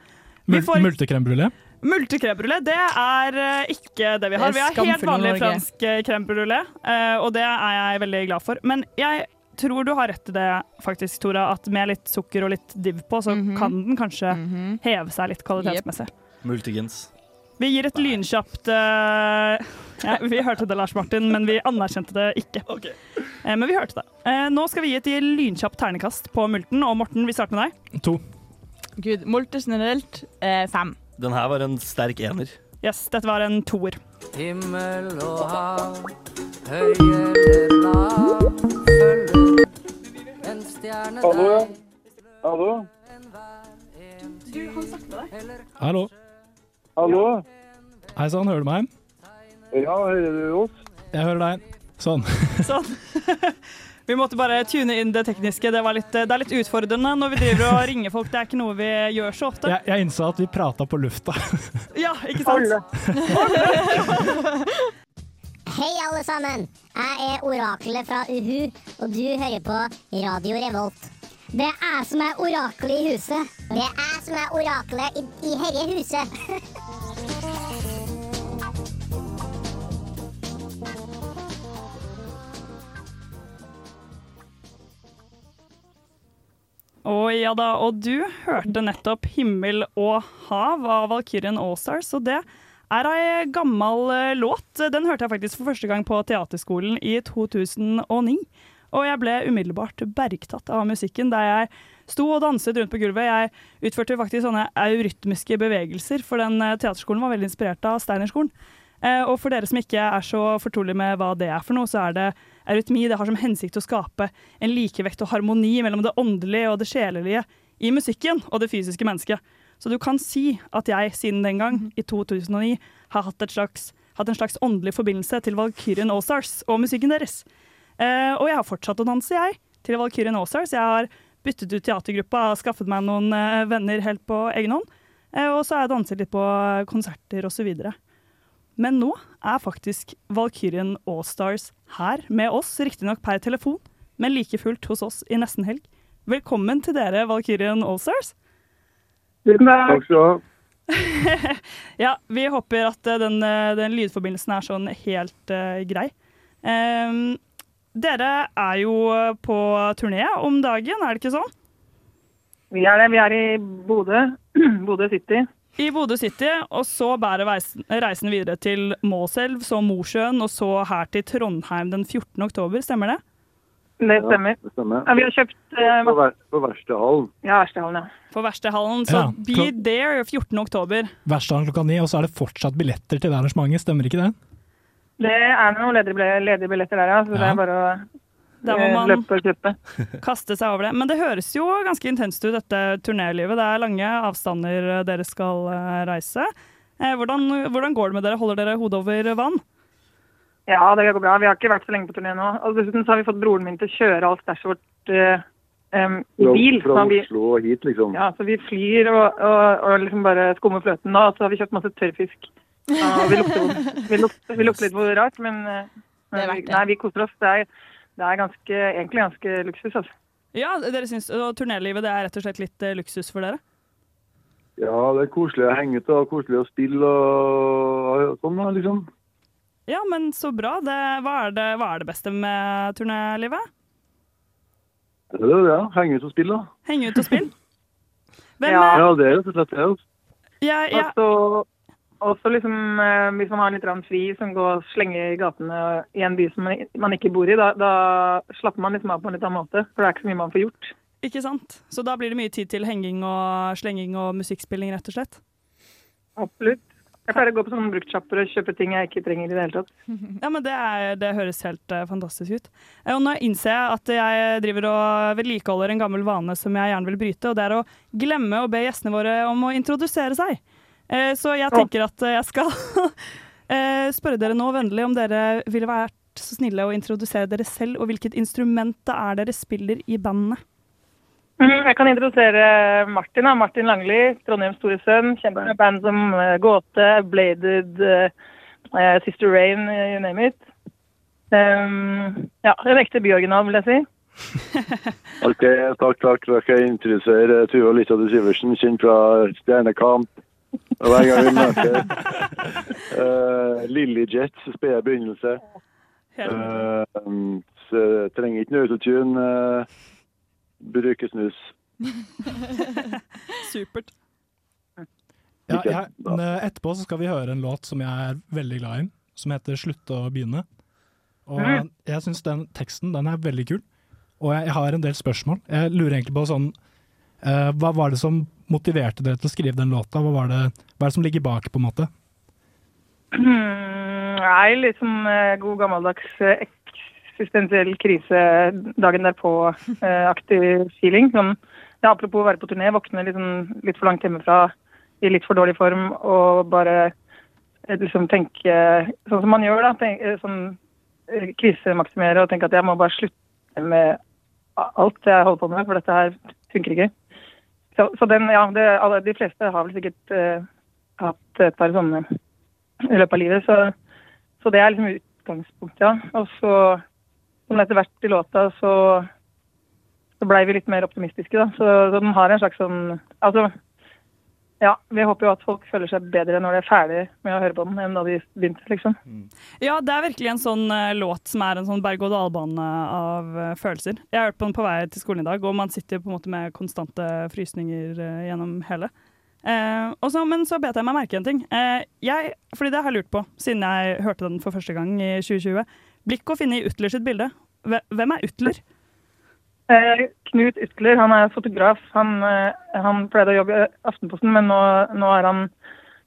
Speaker 8: Vi
Speaker 4: Mul-
Speaker 8: får
Speaker 4: Multekrembrulé.
Speaker 8: Multekrembrulé, det er eh, ikke det vi har.
Speaker 9: Det
Speaker 8: Vi
Speaker 9: er
Speaker 8: har helt
Speaker 9: skamfull
Speaker 8: vanlig
Speaker 9: Norge.
Speaker 8: fransk eh, crème brulé, eh, og det er jeg veldig glad for. Men jeg tror du har rett i det, faktisk, Tora, at med litt sukker og litt div på, så
Speaker 9: Mhm.
Speaker 8: kan den kanskje heve seg litt kvalitetsmessig.
Speaker 3: Multigens.
Speaker 8: Vi gir et lynkjapt eh, ja, Vi hørte det, Lars Martin, men vi anerkjente det ikke. Eh, men vi hørte det. Eh, nå skal vi gi et lynkjapt ternekast på multen, og Morten, vi starter med deg.
Speaker 4: To.
Speaker 9: Gud, molte generelt eh, fem.
Speaker 3: Den her var en sterk ener.
Speaker 8: Yes, dette var en toer.
Speaker 15: Himmel og hav, høyere lav, følger en stjerne
Speaker 16: Hallo, ja.
Speaker 15: deg.
Speaker 16: Hallo?
Speaker 15: Du, han snakket til deg.
Speaker 4: Hallo.
Speaker 16: Hallo?
Speaker 4: Hei sann, hører du meg?
Speaker 16: Ja, hører du oss?
Speaker 4: Jeg hører deg. Sånn.
Speaker 8: Sånn. Vi måtte bare tune inn det tekniske. Det, var litt, det er litt utfordrende når vi driver og ringer folk. Det er ikke noe vi gjør så ofte.
Speaker 4: Jeg, jeg innså at vi prata på lufta.
Speaker 8: Ja, ikke sant?
Speaker 5: Hei, alle sammen! Jeg er oraklet fra Uhu, og du hører på Radio Revolt. Det er jeg som er oraklet i huset. Det er jeg som er oraklet i, i herre huset.
Speaker 8: Og ja da, og du hørte nettopp 'Himmel og hav' av Valkyrien Allstars, og det er ei gammel eh, låt. Den hørte jeg faktisk for første gang på teaterskolen i 2009. Og jeg ble umiddelbart bergtatt av musikken der jeg sto og danset rundt på gulvet. Jeg utførte faktisk sånne eurytmiske bevegelser, for den eh, teaterskolen var veldig inspirert av Steinerskolen. Eh, Og for dere som ikke er så fortrolig med hva det er for noe, så er det eurytmi. Det har som hensikt å skape en likevekt og harmoni mellom det åndelige og det sjelelige i musikken og det fysiske mennesket. Så du kan si at jeg siden den gang, i 2009, har hatt, et slags, hatt en slags åndelig forbindelse til Valkyrien Allstars og musikken deres. Eh, og jeg har fortsatt å danse, jeg, til Valkyrien Allstars. Jeg har byttet ut teatergruppa, skaffet meg noen eh, venner helt på egen hånd. Eh, og så har jeg danset litt på konserter osv. Men nå er faktisk Valkyrien Allstars her med oss, riktignok per telefon, men like fullt hos oss i nesten helg. Velkommen til dere, Valkyrien Allstars.
Speaker 17: Takk skal du ha.
Speaker 8: Ja, vi håper at eh, den, eh, den lydforbindelsen er sånn helt eh, grei. Ehm, dere er jo eh, på turné om dagen, er det ikke sånn?
Speaker 9: Vi er det. Vi er i Bodø. Bodø City.
Speaker 8: I Bodø City, og så bærer veisen- reisen videre til Målselv, så Mosjøen, og så her til Trondheim den 14. oktober, stemmer det?
Speaker 9: Det stemmer.
Speaker 17: det stemmer.
Speaker 9: Ja, vi har kjøpt eh,
Speaker 17: På, ver på Verkstedhallen.
Speaker 9: Ja, Verstehallen, ja.
Speaker 8: På Verkstedhallen, så
Speaker 4: Ja,
Speaker 8: be
Speaker 4: klar-
Speaker 8: there 14. oktober.
Speaker 4: Verkstedhallen klokka ni, og så er det fortsatt billetter til det arrangementet, stemmer ikke det?
Speaker 9: Det er noen ledige bil- ledige billetter der, ja. Så det er bare å
Speaker 8: Der
Speaker 9: eh,
Speaker 8: må man
Speaker 9: løpe og kjøpe.
Speaker 8: kaste seg over det. Men det høres jo ganske intenst ut, dette turnélivet. Det er lange avstander eh, dere skal eh, reise. Eh, Hvordan, hvordan går det med dere? Holder dere hodet over vann?
Speaker 9: Ja, det går bra. Vi har ikke vært så lenge på turné nå. Og dessuten så har vi fått broren min til å kjøre all stæsjet vårt eh, em, i
Speaker 17: Fra,
Speaker 9: bil. så
Speaker 17: fra
Speaker 9: han blir-
Speaker 17: Oslo og hit, liksom.
Speaker 9: Ja, så vi flyr og, og, og liksom bare skummer fløten nå, og så har vi kjøpt masse tørrfisk. Ja, vi, lukter, vi, lukter, vi lukter litt på rart, men eh,
Speaker 8: Det er verdt det.
Speaker 9: Nei, vi koser oss. Det er, det er ganske, egentlig ganske luksus. Altså.
Speaker 8: Ja, dere syns og turnélivet det er rett og slett litt eh, luksus for dere?
Speaker 17: Ja, det er koselig å henge ut og koselig å spille og og sånn, da, liksom.
Speaker 8: Ja, men så bra. Det, hva, er det, hva er det beste med turnélivet?
Speaker 17: Det er det, ja. Henge ut og spille, da.
Speaker 8: Henge ut og spille? Hvem
Speaker 17: ja.
Speaker 8: er-
Speaker 17: det er rett og slett det. altså.
Speaker 8: Ja, ja.
Speaker 9: Og så også liksom, eh, hvis man har litt rann fri som går og slenger i gatene i en by som man, man ikke bor i, da, da slapper man liksom av på en litt annen måte. For det er ikke så mye man får gjort.
Speaker 8: Ikke sant? Så da blir det mye tid til henging og slenging og musikkspilling, rett og slett?
Speaker 9: Absolutt. Jeg pleier å gå på sånne bruktsjapper og kjøpe ting jeg ikke trenger i det hele tatt.
Speaker 8: Ja, men det, er, det høres helt eh, fantastisk ut. Eh, Og nå innser jeg at jeg driver og vedlikeholder en gammel vane som jeg gjerne vil bryte, og det er å glemme å be gjestene våre om å introdusere seg. Eh, Så jeg tenker at eh, jeg skal eh, spørre dere nå vennlig om dere ville vært så snille å introdusere dere selv, og hvilket instrument det er dere spiller i bandet.
Speaker 9: Mm, Jeg kan introdusere Martin. Da. Martin Langli, Trondheims store sønn. Kjent med band som eh, Gåte, Bladed, eh, eh, Sister Rain, eh, you name it. Um, ja, en ekte byoriginal, vil jeg si.
Speaker 17: Ok, takk, takk. Da skal jeg introdusere eh, Tuva Lissatte Syversen, kjent fra Stjernekamp. Og Hver gang vi møter uh, Lillyjets spede begynnelse. Eh, så jeg trenger ikke noe autotune. Uh, bruker snus.
Speaker 8: Supert.
Speaker 4: Ja, jeg, men, eh, etterpå så skal vi høre en låt som jeg er veldig glad i, som heter 'Slutte å begynne'. Og
Speaker 11: Mhm.
Speaker 4: jeg syns den teksten den er veldig kul, og jeg, jeg har en del spørsmål. Jeg lurer egentlig på sånn eh, Hva var det som motiverte dere til å skrive den låta? Hva, var det, hva er det som ligger bak, på en måte?
Speaker 9: Mm, Nei, litt sånn eh, god gammeldags eh, eksistensiell krise dagen derpå-aktig feeling. Sånn, ja, apropos å være på turné, våkne litt, sånn, litt for langt hjemmefra, i litt for dårlig form, og bare eh, liksom tenke sånn som man gjør, da. Tenk, eh, sånn eh, krisemaksimere og tenke at jeg må bare slutte med alt jeg holder på med, for dette her funker ikke. Så, så den, ja, det, alle, de fleste har vel sikkert eh, hatt et par sånne i løpet av livet. Så, så det er liksom utgangspunktet, ja. Og så, som etter hvert i låta, så, så blei vi litt mer optimistiske, da. Så, så den har en slags sånn Altså, ja, vi håper jo at folk føler seg bedre når de er ferdig med å høre på den, enn da de begynte, liksom.
Speaker 8: Ja, det er virkelig en sånn eh, låt som er en sånn berg-og-dal-bane av eh, følelser. Jeg har hørt på den på vei til skolen i dag, og man sitter på en måte med konstante frysninger eh, gjennom hele. Eh, og så- men så bet jeg meg merke i en ting. Eh, jeg, fordi det har jeg lurt på siden jeg hørte den for første gang i 2020. Blikk å finne i Utler sitt bilde. Hve- Hvem er Utler?
Speaker 9: Eh, Knut Utler, han er fotograf. Han, eh, han pleide å jobbe i Aftenposten, men nå, nå er han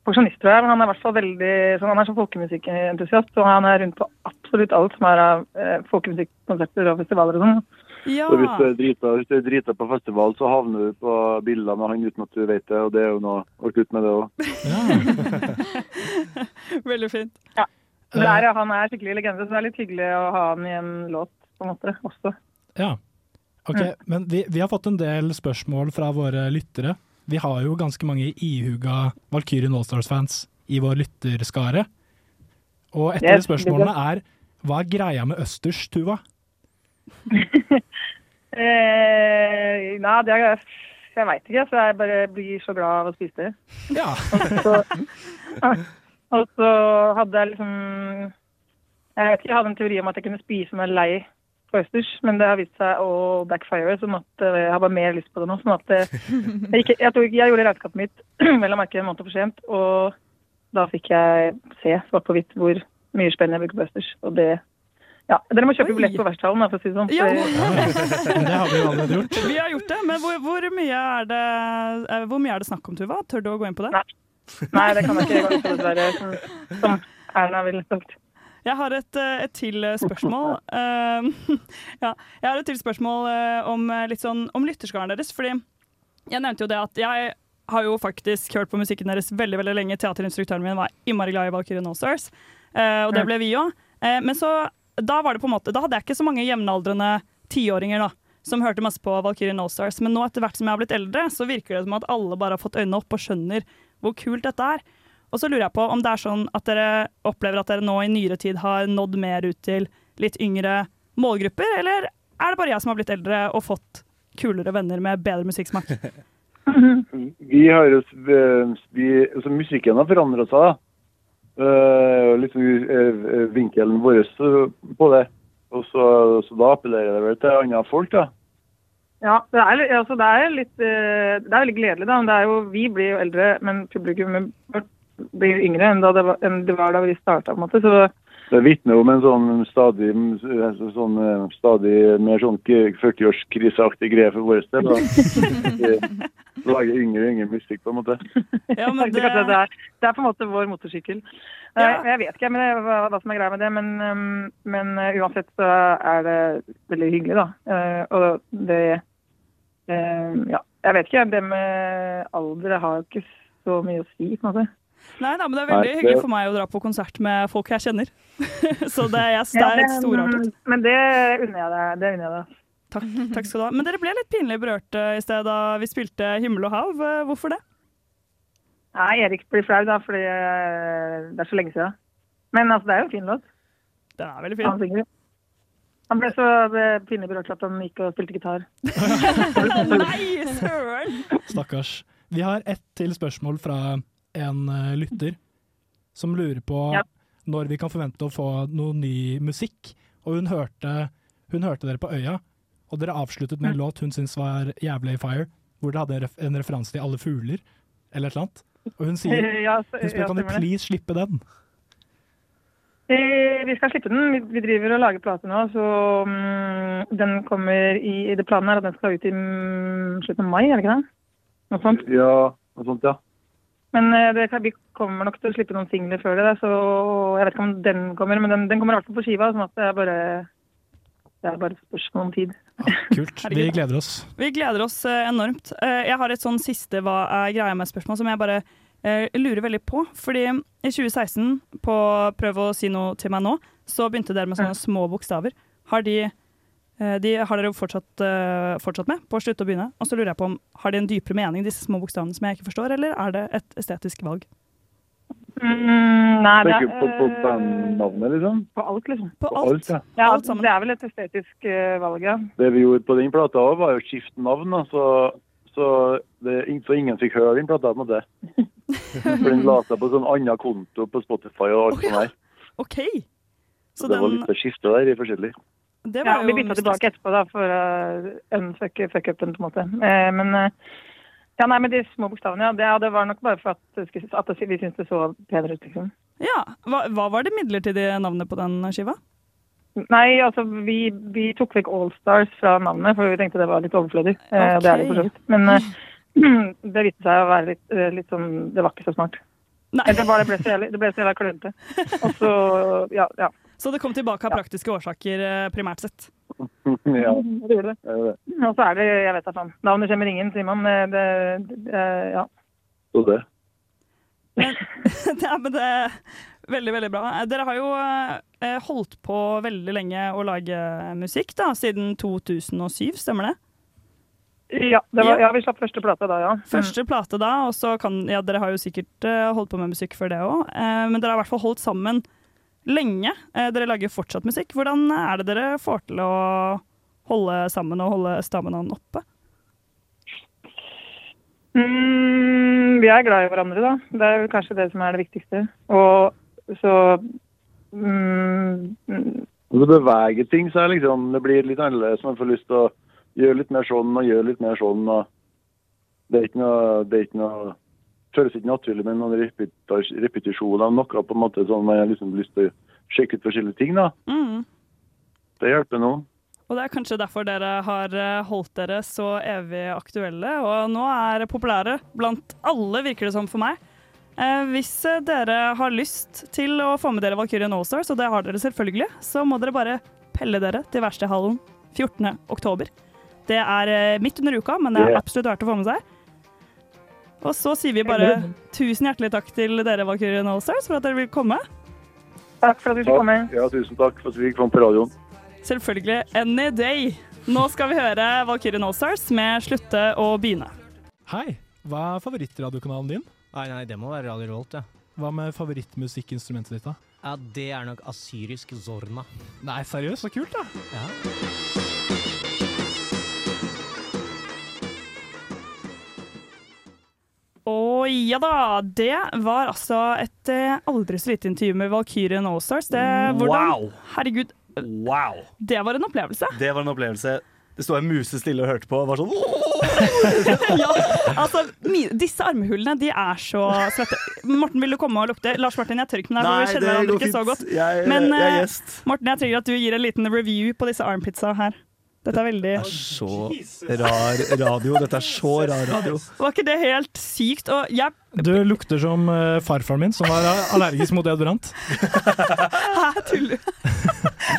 Speaker 9: pensjonist, tror jeg. Men han er i hvert fall veldig sånn, Han er sånn folkemusikkentusiast, og han er rundt på absolutt alt som er av eh, folkemusikkonserter og festivaler og sånn.
Speaker 17: Så hvis du er drita, hvis du er drita på festival, så havner du på bilder med han uten at du vet det, og det er jo noe å slutte med det òg.
Speaker 8: Veldig fint.
Speaker 9: Ja. Det er, han er skikkelig legende, så det er litt hyggelig å ha han i en låt, på en måte, også.
Speaker 4: Ja. Ok, men vi, vi har fått en del spørsmål fra våre lyttere. Vi har jo ganske mange ihuga Valkyrien Allstars-fans i vår lytterskare. Og et av de
Speaker 9: Yes,
Speaker 4: spørsmålene
Speaker 9: det
Speaker 4: er hva er greia med østers, Tuva?
Speaker 9: Eh, nei, det er, jeg veit ikke. Så jeg bare blir så glad av å spise det.
Speaker 4: Ja.
Speaker 9: og så hadde jeg liksom Jeg vet ikke, jeg hadde en teori om at jeg kunne spise meg lei på østers, men det har vist seg å backfire. Sånn at eh, jeg har bare mer lyst på det nå. Sånn at eh, jeg, ikke, jeg, tok, jeg gjorde regnskapet mitt vel å merke en måned for sent, og da fikk jeg se svart på hvitt hvor mye spenn jeg bruker på østers. Og det Ja. Dere må kjøpe
Speaker 8: Oi.
Speaker 9: billett på Verftshallen, da, for å si det sånn.
Speaker 8: Ja.
Speaker 9: for-
Speaker 4: Men det har vi jo allerede gjort.
Speaker 8: Vi har gjort det, men hvor, hvor, mye er det, eh, hvor mye er det snakk om, Tuva? Tør du å gå inn på det?
Speaker 9: Nei, det kan jeg ikke gå ut på, dessverre. som- Som Erna ville sagt.
Speaker 8: Jeg har et, eh, et til eh, spørsmål. Eh, ja, jeg har et til spørsmål eh, om, eh, litt sånn, om lytterskaren deres. Fordi jeg nevnte jo det at jeg har jo faktisk hørt på musikken deres veldig veldig lenge. Teaterinstruktøren min var innmari glad i Valkyrien Allstars, eh, og det ble vi òg. Eh, men så, da, var det på en måte, da hadde jeg ikke så mange jevnaldrende tiåringer da, som hørte masse på Valkyrien Allstars. Men nå etter hvert som jeg har blitt eldre, så virker det som at alle bare har fått øynene opp og skjønner hvor kult dette er. Og så lurer jeg på om det er sånn at dere opplever at dere nå i nyere tid har nådd mer ut til litt yngre målgrupper, eller er det bare jeg som har blitt eldre og fått kulere venner med bedre musikksmak?
Speaker 17: Vi har jo s- vi, altså, Musikken har forandra seg, da. Eh, liksom eh, vinkelen vår så- på det. Og så, så da appellerer det vel til andre folk, da.
Speaker 9: Ja, det er, litt- altså, det er litt eh, Det er veldig gledelig, da. Men det er jo, vi blir jo eldre, men publikummet vårt blir yngre enn, da det, var, enn det var da vi starta, på en måte. Så
Speaker 17: Det vitner om en sånn stadig, altså sånn, eh, stadig mer sånn k- 40-årskriseaktig greie for vår del. da. Vi Lager yngre og yngre musikk, på en måte.
Speaker 9: det... kanskje Det, er, det er på en måte vår motorsykkel. Eh, Jeg vet ikke men det, hva, hva som er greia med det, men, um, men eh, uansett så er det veldig hyggelig, da. Eh, Og det eh, Ja, jeg vet ikke. Det med alder har jo ikke så mye å si, på en måte.
Speaker 8: Nei da, men det er
Speaker 9: Nei,
Speaker 8: veldig
Speaker 9: det-
Speaker 8: hyggelig for meg å dra på konsert med folk jeg kjenner. Så det, jeg, det er
Speaker 9: Ja,
Speaker 8: et storartet.
Speaker 9: Men det unner jeg deg. Det unner jeg deg.
Speaker 8: Takk, takk skal du ha. Men dere ble litt pinlig berørt eh, i sted da vi spilte 'Himmel og hav'. Eh, Hvorfor det?
Speaker 9: Nei, Erik blir flau, da, fordi eh, det er så lenge siden. Men altså, det er jo en fin låt.
Speaker 8: Den er veldig
Speaker 9: Han
Speaker 8: fin.
Speaker 9: synger jo. Han ble så eh, pinlig berørt at han gikk og spilte gitar.
Speaker 8: Nei, søren!
Speaker 4: Stakkars. Vi har ett til spørsmål fra en eh, lytter som lurer på når vi kan forvente å få noe ny musikk. Og hun hørte, hun hørte dere på Øya, og dere avsluttet
Speaker 9: Mm.
Speaker 4: med en låt hun syntes var jævlig fire, hvor dere hadde en ref en referanse til alle fugler, eller et eller annet. Og hun sier
Speaker 9: Ja, så-
Speaker 4: hun
Speaker 9: ja,
Speaker 4: spør kan dere
Speaker 9: stemmer det.
Speaker 4: please slippe den.
Speaker 9: Eh, Vi skal slippe den. Vi- Vi driver og lager plate nå, så mm, den kommer i, i det planen her at den skal ut i mm, slutten av mai, er det ikke det? Noe sånt.
Speaker 17: Ja, noe sånt, ja.
Speaker 9: Men eh, det, kan- vi kommer nok til å slippe noen singler før det, da, så jeg vet ikke om den kommer. Men den, den kommer i hvert fall på skiva, sånn at det er bare, det er bare et spørsmål om tid.
Speaker 4: Kult. Vi gleder oss.
Speaker 8: Vi gleder oss eh, enormt. Eh, Jeg har et sånn siste hva er greia med-spørsmål som jeg bare eh, lurer veldig på. Fordi i 2016, på Prøv å si noe til meg nå, så begynte dere med sånne små bokstaver. Har de Eh, De har dere jo fortsatt, eh, fortsatt med på slutt og begynne. Og så lurer jeg på om, Har de en dypere mening, disse små bokstavene som jeg ikke forstår, eller er det et estetisk valg?
Speaker 9: Mm, nei, det
Speaker 17: Tenker
Speaker 9: er
Speaker 17: du på, på bandnavnet, liksom?
Speaker 9: På alt, liksom.
Speaker 8: På
Speaker 17: alt, ja.
Speaker 9: Ja, Det er vel et estetisk eh, valg, ja.
Speaker 17: Det vi gjorde på den plata òg, var jo å skifte navn, da, så, så, det, så ingen fikk høre den plata. på en måte. For den la seg på sånn annen konto på Spotify og alt sånt der.
Speaker 8: OK!
Speaker 17: Så
Speaker 8: Så
Speaker 17: det var
Speaker 8: den,
Speaker 17: litt å skifte der i forskjellig.
Speaker 8: det
Speaker 9: ja,
Speaker 8: var jo
Speaker 9: vi bytta tilbake etterpå da, for å unfucke fuck-upen, på en måte. Eh, men eh, ja, nei, men de små bokstavene, ja. Det, ja, det var nok bare for at, det skulle- at det- vi syntes det så penere ut, liksom.
Speaker 8: Ja, hva, hva var det midlertidige navnet på den skiva?
Speaker 9: Nei, altså, vi, vi tok vekk Allstars fra navnet, for vi tenkte det var litt overflødig. Eh, og Det er det for så vidt. Men eh, det viste seg å være litt, eh, litt sånn Det var ikke så smart. Eller det, bare ble så jævlig, det ble så jævla klønete. Og så, ja, ja.
Speaker 8: Så det kom tilbake av praktiske årsaker, eh, primært sett.
Speaker 17: ja.
Speaker 9: Mm, Det gjorde det. Mm,
Speaker 17: det er det.
Speaker 9: Og så er det, jeg vet da faen. Navnet kommer ingen, sier man. Eh, Det, det, eh, ja.
Speaker 17: Så det.
Speaker 8: ja, men det er veldig, veldig bra. Eh, Dere har jo eh, holdt på veldig lenge å lage musikk, da, siden 2007, stemmer det?
Speaker 9: Ja, det var, ja, vi slapp første plata da, ja.
Speaker 8: Første plate da, og så kan Ja, dere har jo sikkert eh, holdt på med musikk før det òg, men dere har i hvert fall holdt sammen lenge. Eh, dere lager fortsatt musikk. Hvordan er det dere får til å holde sammen og holde staminaen oppe?
Speaker 9: Mm, vi er glad i hverandre, da. Det er vel kanskje det som er det viktigste. Og så mm, mm,
Speaker 17: Og så beveger ting seg liksom. Det blir litt annerledes. Man får lyst til å gjøre litt mer sånn og gjøre litt mer sånn. og Det er ikke noe det er ikke noe, føles ikke naturlig med noen repetas- repetisjoner av noe. på en måte sånn Man har liksom lyst til å sjekke ut forskjellige ting. da.
Speaker 8: Mm.
Speaker 17: Det hjelper noen.
Speaker 8: Og det er kanskje derfor dere har eh, holdt dere så evig aktuelle, og nå er populære blant alle, virker det som for meg. Eh, hvis eh, dere har lyst til å få med dere Valkyrien Allstars, og det har dere selvfølgelig, så må dere bare pelle dere til verkstedhallen 14. oktober. Det er eh, midt under uka, men det er
Speaker 18: Yeah.
Speaker 8: absolutt verdt å få med seg. Og så sier vi bare tusen hjertelig takk til dere, Valkyrien Allstars, for at dere vil komme.
Speaker 9: Takk for at
Speaker 8: vi fikk komme.
Speaker 17: Ja, tusen takk for at vi fikk komme på radioen.
Speaker 8: Selvfølgelig Any Day. Nå skal vi høre Valkyrien Allstars med Slutte å begynne.
Speaker 4: Hei, hva er favorittradiokanalen din?
Speaker 19: Nei, nei, det må være Radio Revolt, ja.
Speaker 4: Hva med favorittmusikkinstrumentet ditt, da?
Speaker 19: Ja, det er nok asyrisk zorna.
Speaker 4: Nei, seriøst, så kult, da!
Speaker 19: Ja.
Speaker 8: Å ja da, det var altså et eh, aldri så lite intervju med Valkyrien Allstars. Det, hvordan,
Speaker 3: Wow.
Speaker 8: herregud,
Speaker 3: Wow!
Speaker 8: det var en opplevelse.
Speaker 3: Det var en opplevelse. Det sto jeg musestille og hørte på. og Var sånn,
Speaker 8: Altså, mi, disse armhullene, de er så svette. Morten, vil du komme og lukte? Lars Martin, jeg tør ikke med deg, for vi
Speaker 3: Nei, det
Speaker 8: kjenner hverandre
Speaker 3: går
Speaker 8: ikke så
Speaker 3: fint.
Speaker 8: godt.
Speaker 3: Jeg-
Speaker 8: Men
Speaker 3: jeg er
Speaker 8: eh,
Speaker 3: gjest.
Speaker 8: Morten, jeg trenger at du gir en liten review på disse armpizza her. Dette er veldig
Speaker 3: så rar radio. Dette er så rar radio.
Speaker 8: Var ikke det helt sykt? Og jeg
Speaker 4: Du lukter som eh, farfaren min, som var allergisk mot deodorant.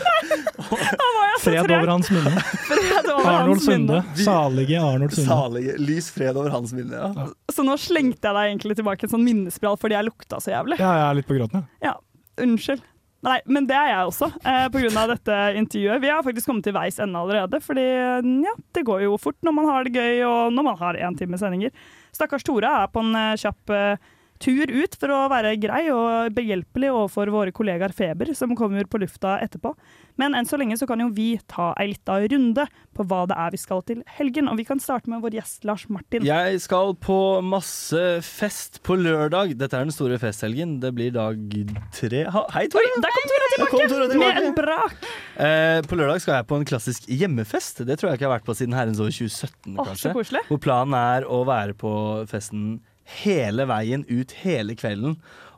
Speaker 8: Da var jeg så
Speaker 4: Fred
Speaker 8: trøtt.
Speaker 4: over hans minne.
Speaker 8: Fred over
Speaker 4: Arnold
Speaker 8: hans minne.
Speaker 4: Sunde. Salige Arnold Sunde.
Speaker 3: Salige. Lys fred over hans minne. Ja.
Speaker 8: Så nå slengte jeg deg egentlig tilbake en sånn minnespral fordi jeg lukta så jævlig.
Speaker 4: Ja, jeg er litt på gråten, jeg.
Speaker 8: Ja, unnskyld. Nei, men det er jeg også, eh, pga. dette intervjuet. Vi har faktisk kommet til veis ende allerede, fordi mm, ja, det går jo fort når man har det gøy og når man har én time sendinger. Stakkars Tora er på en eh, kjapp eh, tur ut for å være grei og behjelpelig overfor våre kollegaer Feber, som kommer på lufta etterpå. Men enn så lenge så kan jo vi ta ei lita runde på hva det er vi skal til helgen, og vi kan starte med vår gjest Lars Martin.
Speaker 3: Jeg skal på masse fest på lørdag. Dette er den store festhelgen. Det blir dag tre. Ha, hei, Tora!
Speaker 8: Der kom Tora
Speaker 3: Der kom
Speaker 8: tilbake,
Speaker 3: Tora tilbake.
Speaker 8: med en brak!
Speaker 3: Eh, på lørdag skal jeg på en klassisk hjemmefest. Det tror jeg ikke jeg har vært på siden herrens år 2017.
Speaker 8: Åh,
Speaker 3: kanskje.
Speaker 8: så koselig.
Speaker 3: Hvor planen er å være på festen hele veien ut hele kvelden.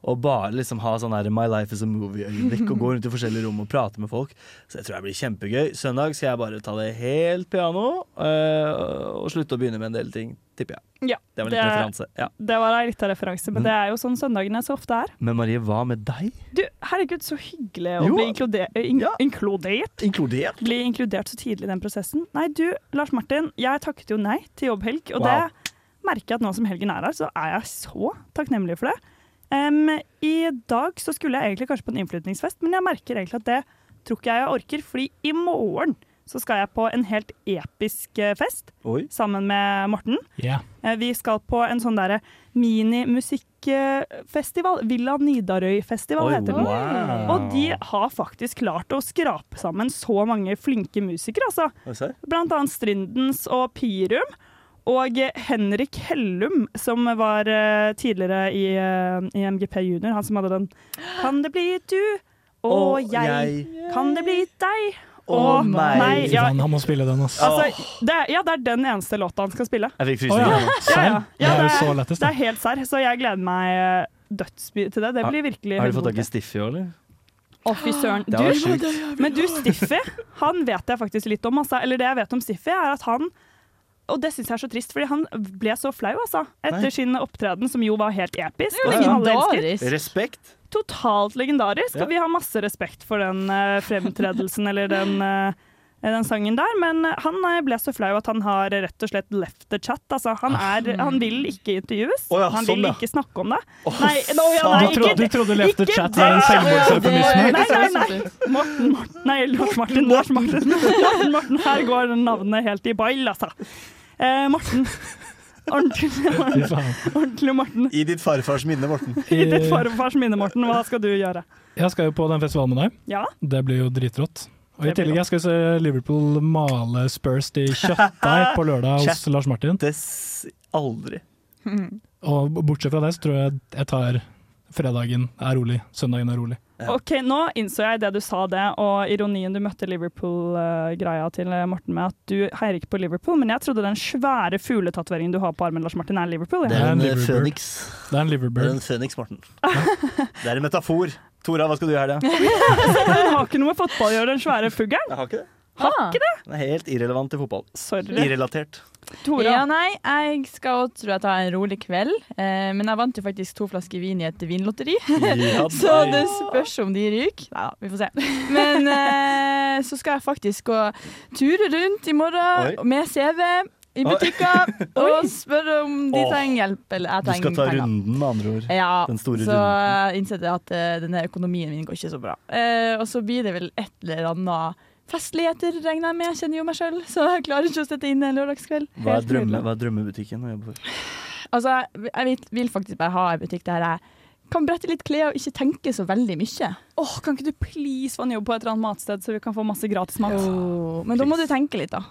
Speaker 3: Og bare liksom ha sånn her My life is a movie-øyeblikk og gå rundt i forskjellige rom og prate med folk. Så jeg tror det blir kjempegøy. Søndag skal jeg bare ta det helt piano eh, og slutte å begynne med en del ting, tipper jeg.
Speaker 8: Ja,
Speaker 3: Det var litt referanse. Ja. Mm.
Speaker 8: Det var ei lita referanse, men det er jo sånn søndagene så ofte er.
Speaker 3: Men Marie, hva med deg?
Speaker 8: Du, herregud, så hyggelig å
Speaker 3: Jo.
Speaker 8: bli inkludert, in inkludert.
Speaker 3: Inkludert?
Speaker 8: Bli inkludert så tidlig i den prosessen. Nei, du, Lars Martin, jeg takket jo nei til jobbhelg, og
Speaker 3: Wow.
Speaker 8: det merker jeg at nå som helgen er her, så er jeg så takknemlig for det. Em, I dag så skulle jeg egentlig kanskje på en innflytningsfest, men jeg merker egentlig at det tror ikke jeg jeg orker, fordi i morgen så skal jeg på en helt episk eh, fest
Speaker 3: Oi.
Speaker 8: sammen med Morten.
Speaker 4: Ja.
Speaker 8: Eh, Vi skal på en sånn derre minimusikkfestival. Villa Nidarøy-festival
Speaker 4: Oi,
Speaker 8: heter den.
Speaker 4: wow.
Speaker 8: Og de har faktisk klart å skrape sammen så mange flinke musikere, altså.
Speaker 3: Serr?
Speaker 8: Blant annet Strindens og Pirum. Og Henrik Hellum, som var eh, tidligere i, eh, i MGP Junior, han som hadde den Kan det bli du og,
Speaker 4: Og
Speaker 8: jeg? Kan det bli deg
Speaker 4: Å,
Speaker 8: og meg?
Speaker 4: Fy
Speaker 8: Ja,
Speaker 4: faen, han må spille den, ass.
Speaker 8: altså, det, er- ja, det er den eneste låta han skal spille.
Speaker 3: Jeg fikk
Speaker 4: Å,
Speaker 3: frysninger.
Speaker 4: ja.
Speaker 3: nå.
Speaker 4: Serr? Det er jo så
Speaker 8: Det
Speaker 4: lettest,
Speaker 8: er helt serr, så jeg gleder meg eh, dødsby til det. Det blir virkelig
Speaker 3: Har du fått tak i
Speaker 8: høydepunktet.
Speaker 3: Stiffy òg, eller?
Speaker 8: Å, fy søren.
Speaker 3: Det var sjukt.
Speaker 8: Du, men du, Stiffy, han vet jeg faktisk litt om. Altså. Eller det jeg vet om Stiffy, er at han Og det syns jeg er så trist, fordi han ble så flau, altså. Etter
Speaker 3: Nei.
Speaker 8: sin opptreden, som jo var helt episk.
Speaker 3: Ja,
Speaker 8: Og som alle
Speaker 3: legendarisk.
Speaker 8: elsker.
Speaker 3: Respekt.
Speaker 8: Totalt legendarisk,
Speaker 3: Ja.
Speaker 8: og vi har masse respekt for den eh, fremtredelsen eller den, eh, den sangen der. Men eh, han eh, ble så flau at han har rett og slett left the chat. Altså, han, er, han vil ikke intervjuues.
Speaker 4: Ah. Å ja,
Speaker 8: han
Speaker 4: sånn,
Speaker 8: vil
Speaker 4: ja.
Speaker 8: ikke snakke om det.
Speaker 4: Å,
Speaker 8: Nei, nå, ja,
Speaker 4: faen.
Speaker 8: nei,
Speaker 4: Du
Speaker 8: ikke
Speaker 4: trodde- du
Speaker 8: det.
Speaker 4: trodde left the
Speaker 8: Ikke
Speaker 4: chat
Speaker 8: det.
Speaker 4: var en selvmordsøfemisme?
Speaker 8: Nei, nei, nei. Morten, Morten. Nei, Lars Martin. Lars Martin. Lars Martin. Her går navnet helt i ball, altså. Eh, Morten. Ordentlig, ordentlig Morten.
Speaker 3: I ditt farfars minne, Morten.
Speaker 8: I ditt farfars minne, Morten, hva skal du gjøre?
Speaker 4: Jeg skal jo på den festivalen med deg.
Speaker 8: Ja.
Speaker 4: Det blir jo dritrått. Og I
Speaker 8: Det blir
Speaker 4: tillegg jeg skal se Liverpool male Spurs i kjøttdeig på lørdag hos
Speaker 3: Kjøtt.
Speaker 4: Lars Martin.
Speaker 3: Aldri.
Speaker 4: Og b- bortsett fra det så tror jeg jeg tar fredagen er rolig, søndagen er rolig.
Speaker 8: Ok, Nå innså jeg det du sa det, og ironien du møtte Liverpool-greia til eh, Morten med, at du heier ikke på Liverpool, men jeg trodde den svære fugletatoveringen du har på armen, Lars Martin, er Liverpool. ja.
Speaker 3: Det er en eh,
Speaker 4: Liverbird.
Speaker 3: føniks.
Speaker 4: Det er en Liverbird.
Speaker 3: Det er en føniks, Morten. Det er en metafor. Tora, hva skal du gjøre i helga?
Speaker 8: Den har ikke noe med fotball å gjøre, den svære fuggeren.
Speaker 3: Jeg har ikke det. Ah.
Speaker 8: Har ikke det?
Speaker 3: Den er helt irrelevant til fotball.
Speaker 8: Sorry.
Speaker 3: Irrelatert.
Speaker 8: Tora?
Speaker 7: Ja, nei, jeg skal også, tror jeg tar en rolig kveld, eh, men jeg vant jo faktisk to flasker vin i et vinlotteri.
Speaker 3: Ja,
Speaker 7: så
Speaker 3: nei.
Speaker 7: det spørs om de ryker. Nei da, vi får se. Men eh, så skal jeg faktisk gå ture rundt i morgen
Speaker 3: Oi.
Speaker 7: med CV i butikker og spørre om de
Speaker 3: Åh.
Speaker 7: trenger hjelp eller jeg
Speaker 3: Du
Speaker 7: trenger
Speaker 3: skal ta
Speaker 7: penger.
Speaker 3: runden, med andre ord.
Speaker 7: Ja,
Speaker 3: Den store
Speaker 7: så
Speaker 3: runden.
Speaker 7: jeg innså det at eh, denne økonomien min går ikke så bra. Eh, og så blir det vel et eller annet festligheter, regner jeg med. Jeg kjenner jo meg sjøl, så jeg klarer ikke å sette inn en lørdagskveld.
Speaker 3: Hva er,
Speaker 7: Helt
Speaker 3: drømme,
Speaker 7: nydelig.
Speaker 3: hva er drømmebutikken å jobbe for?
Speaker 7: Altså, jeg- jeg vil, vil faktisk bare ha en butikk der jeg kan brette litt klær og ikke tenke så veldig mye.
Speaker 8: Åh, kan ikke du please få en jobb på et eller annet matsted, så vi kan få masse gratis mat?
Speaker 7: men da må du tenke litt, da.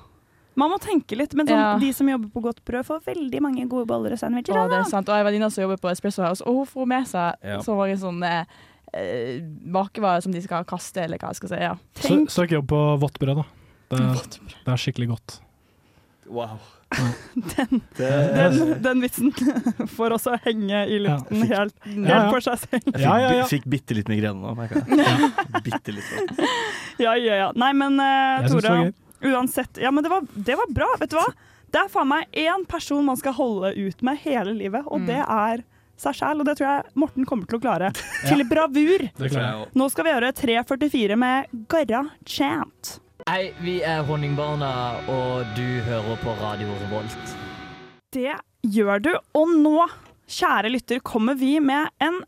Speaker 8: Man må tenke litt, men sånn,
Speaker 7: Ja.
Speaker 8: de som jobber på Godt Brød, får veldig mange gode boller og sandwicher.
Speaker 7: Og det
Speaker 8: da.
Speaker 7: er sant. Og jeg er venninne som jobber på Espresso House, og hun får med seg
Speaker 4: Ja.
Speaker 7: så mange sånne eh, bakevarer som de skal kaste, eller hva jeg skal si. Ja.
Speaker 4: Så, Søk jobb på vått brød, da. Det er, det er skikkelig godt.
Speaker 3: Wow.
Speaker 8: Den, den vitsen får også henge i luften helt, helt
Speaker 3: Ja, ja.
Speaker 8: for seg selv.
Speaker 3: Jeg fikk, bi- fikk bitte litt migrene nå, merka jeg. Bitte litt. faktisk.
Speaker 8: Ja, ja, ja. Nei, men eh,
Speaker 3: Jeg synes det var
Speaker 8: Tora,
Speaker 3: gøy.
Speaker 8: uansett Ja, men det var, det var bra, vet du hva? Det er faen meg én person man skal holde ut med hele livet, og det er seg sjæl. Og det tror jeg Morten kommer til å klare. Til bravur.
Speaker 19: Det klarer jeg også.
Speaker 8: Nå skal vi gjøre 3.44 med Garra Chant.
Speaker 18: Hei, vi er Honningbarna, og du hører på Radio Revolt.
Speaker 8: Det gjør du. Og nå, kjære lytter, kommer vi med en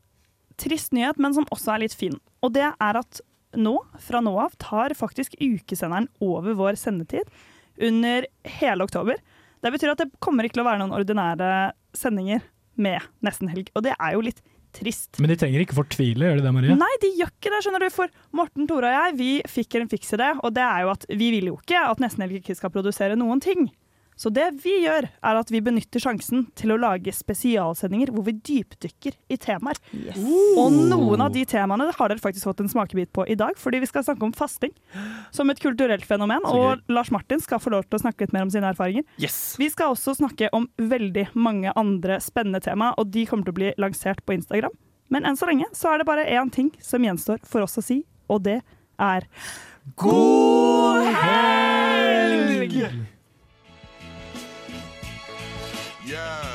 Speaker 8: trist nyhet, men som også er litt fin. Og det er at nå, fra nå av, tar faktisk ukesenderen over vår sendetid under hele oktober. Det betyr at det kommer ikke til å være noen ordinære sendinger med nesten helg. Og det er jo litt trist.
Speaker 4: Men de trenger ikke fortvile, gjør de det, Marie?
Speaker 8: Nei, de gjør ikke det, skjønner du. For Morten, Tore og jeg vi fikk en fiks idé, og det er jo at vi vil jo ikke at Nesten Helg ikke skal produsere noen ting. Så det vi gjør, er at vi benytter sjansen til å lage spesialsendinger hvor vi dypdykker i temaer.
Speaker 3: Oh.
Speaker 8: Og noen av de temaene har dere faktisk fått en smakebit på i dag, fordi vi skal snakke om fasting som et kulturelt fenomen.
Speaker 3: Så
Speaker 8: Og
Speaker 3: gøy.
Speaker 8: Lars Martin skal få lov til å snakke litt mer om sine erfaringer.
Speaker 3: Yes.
Speaker 8: Vi skal også snakke om veldig mange andre spennende tema, og de kommer til å bli lansert på Instagram. Men enn så lenge så er det bare én ting som gjenstår for oss å si, og det er God helg!
Speaker 20: Yeah.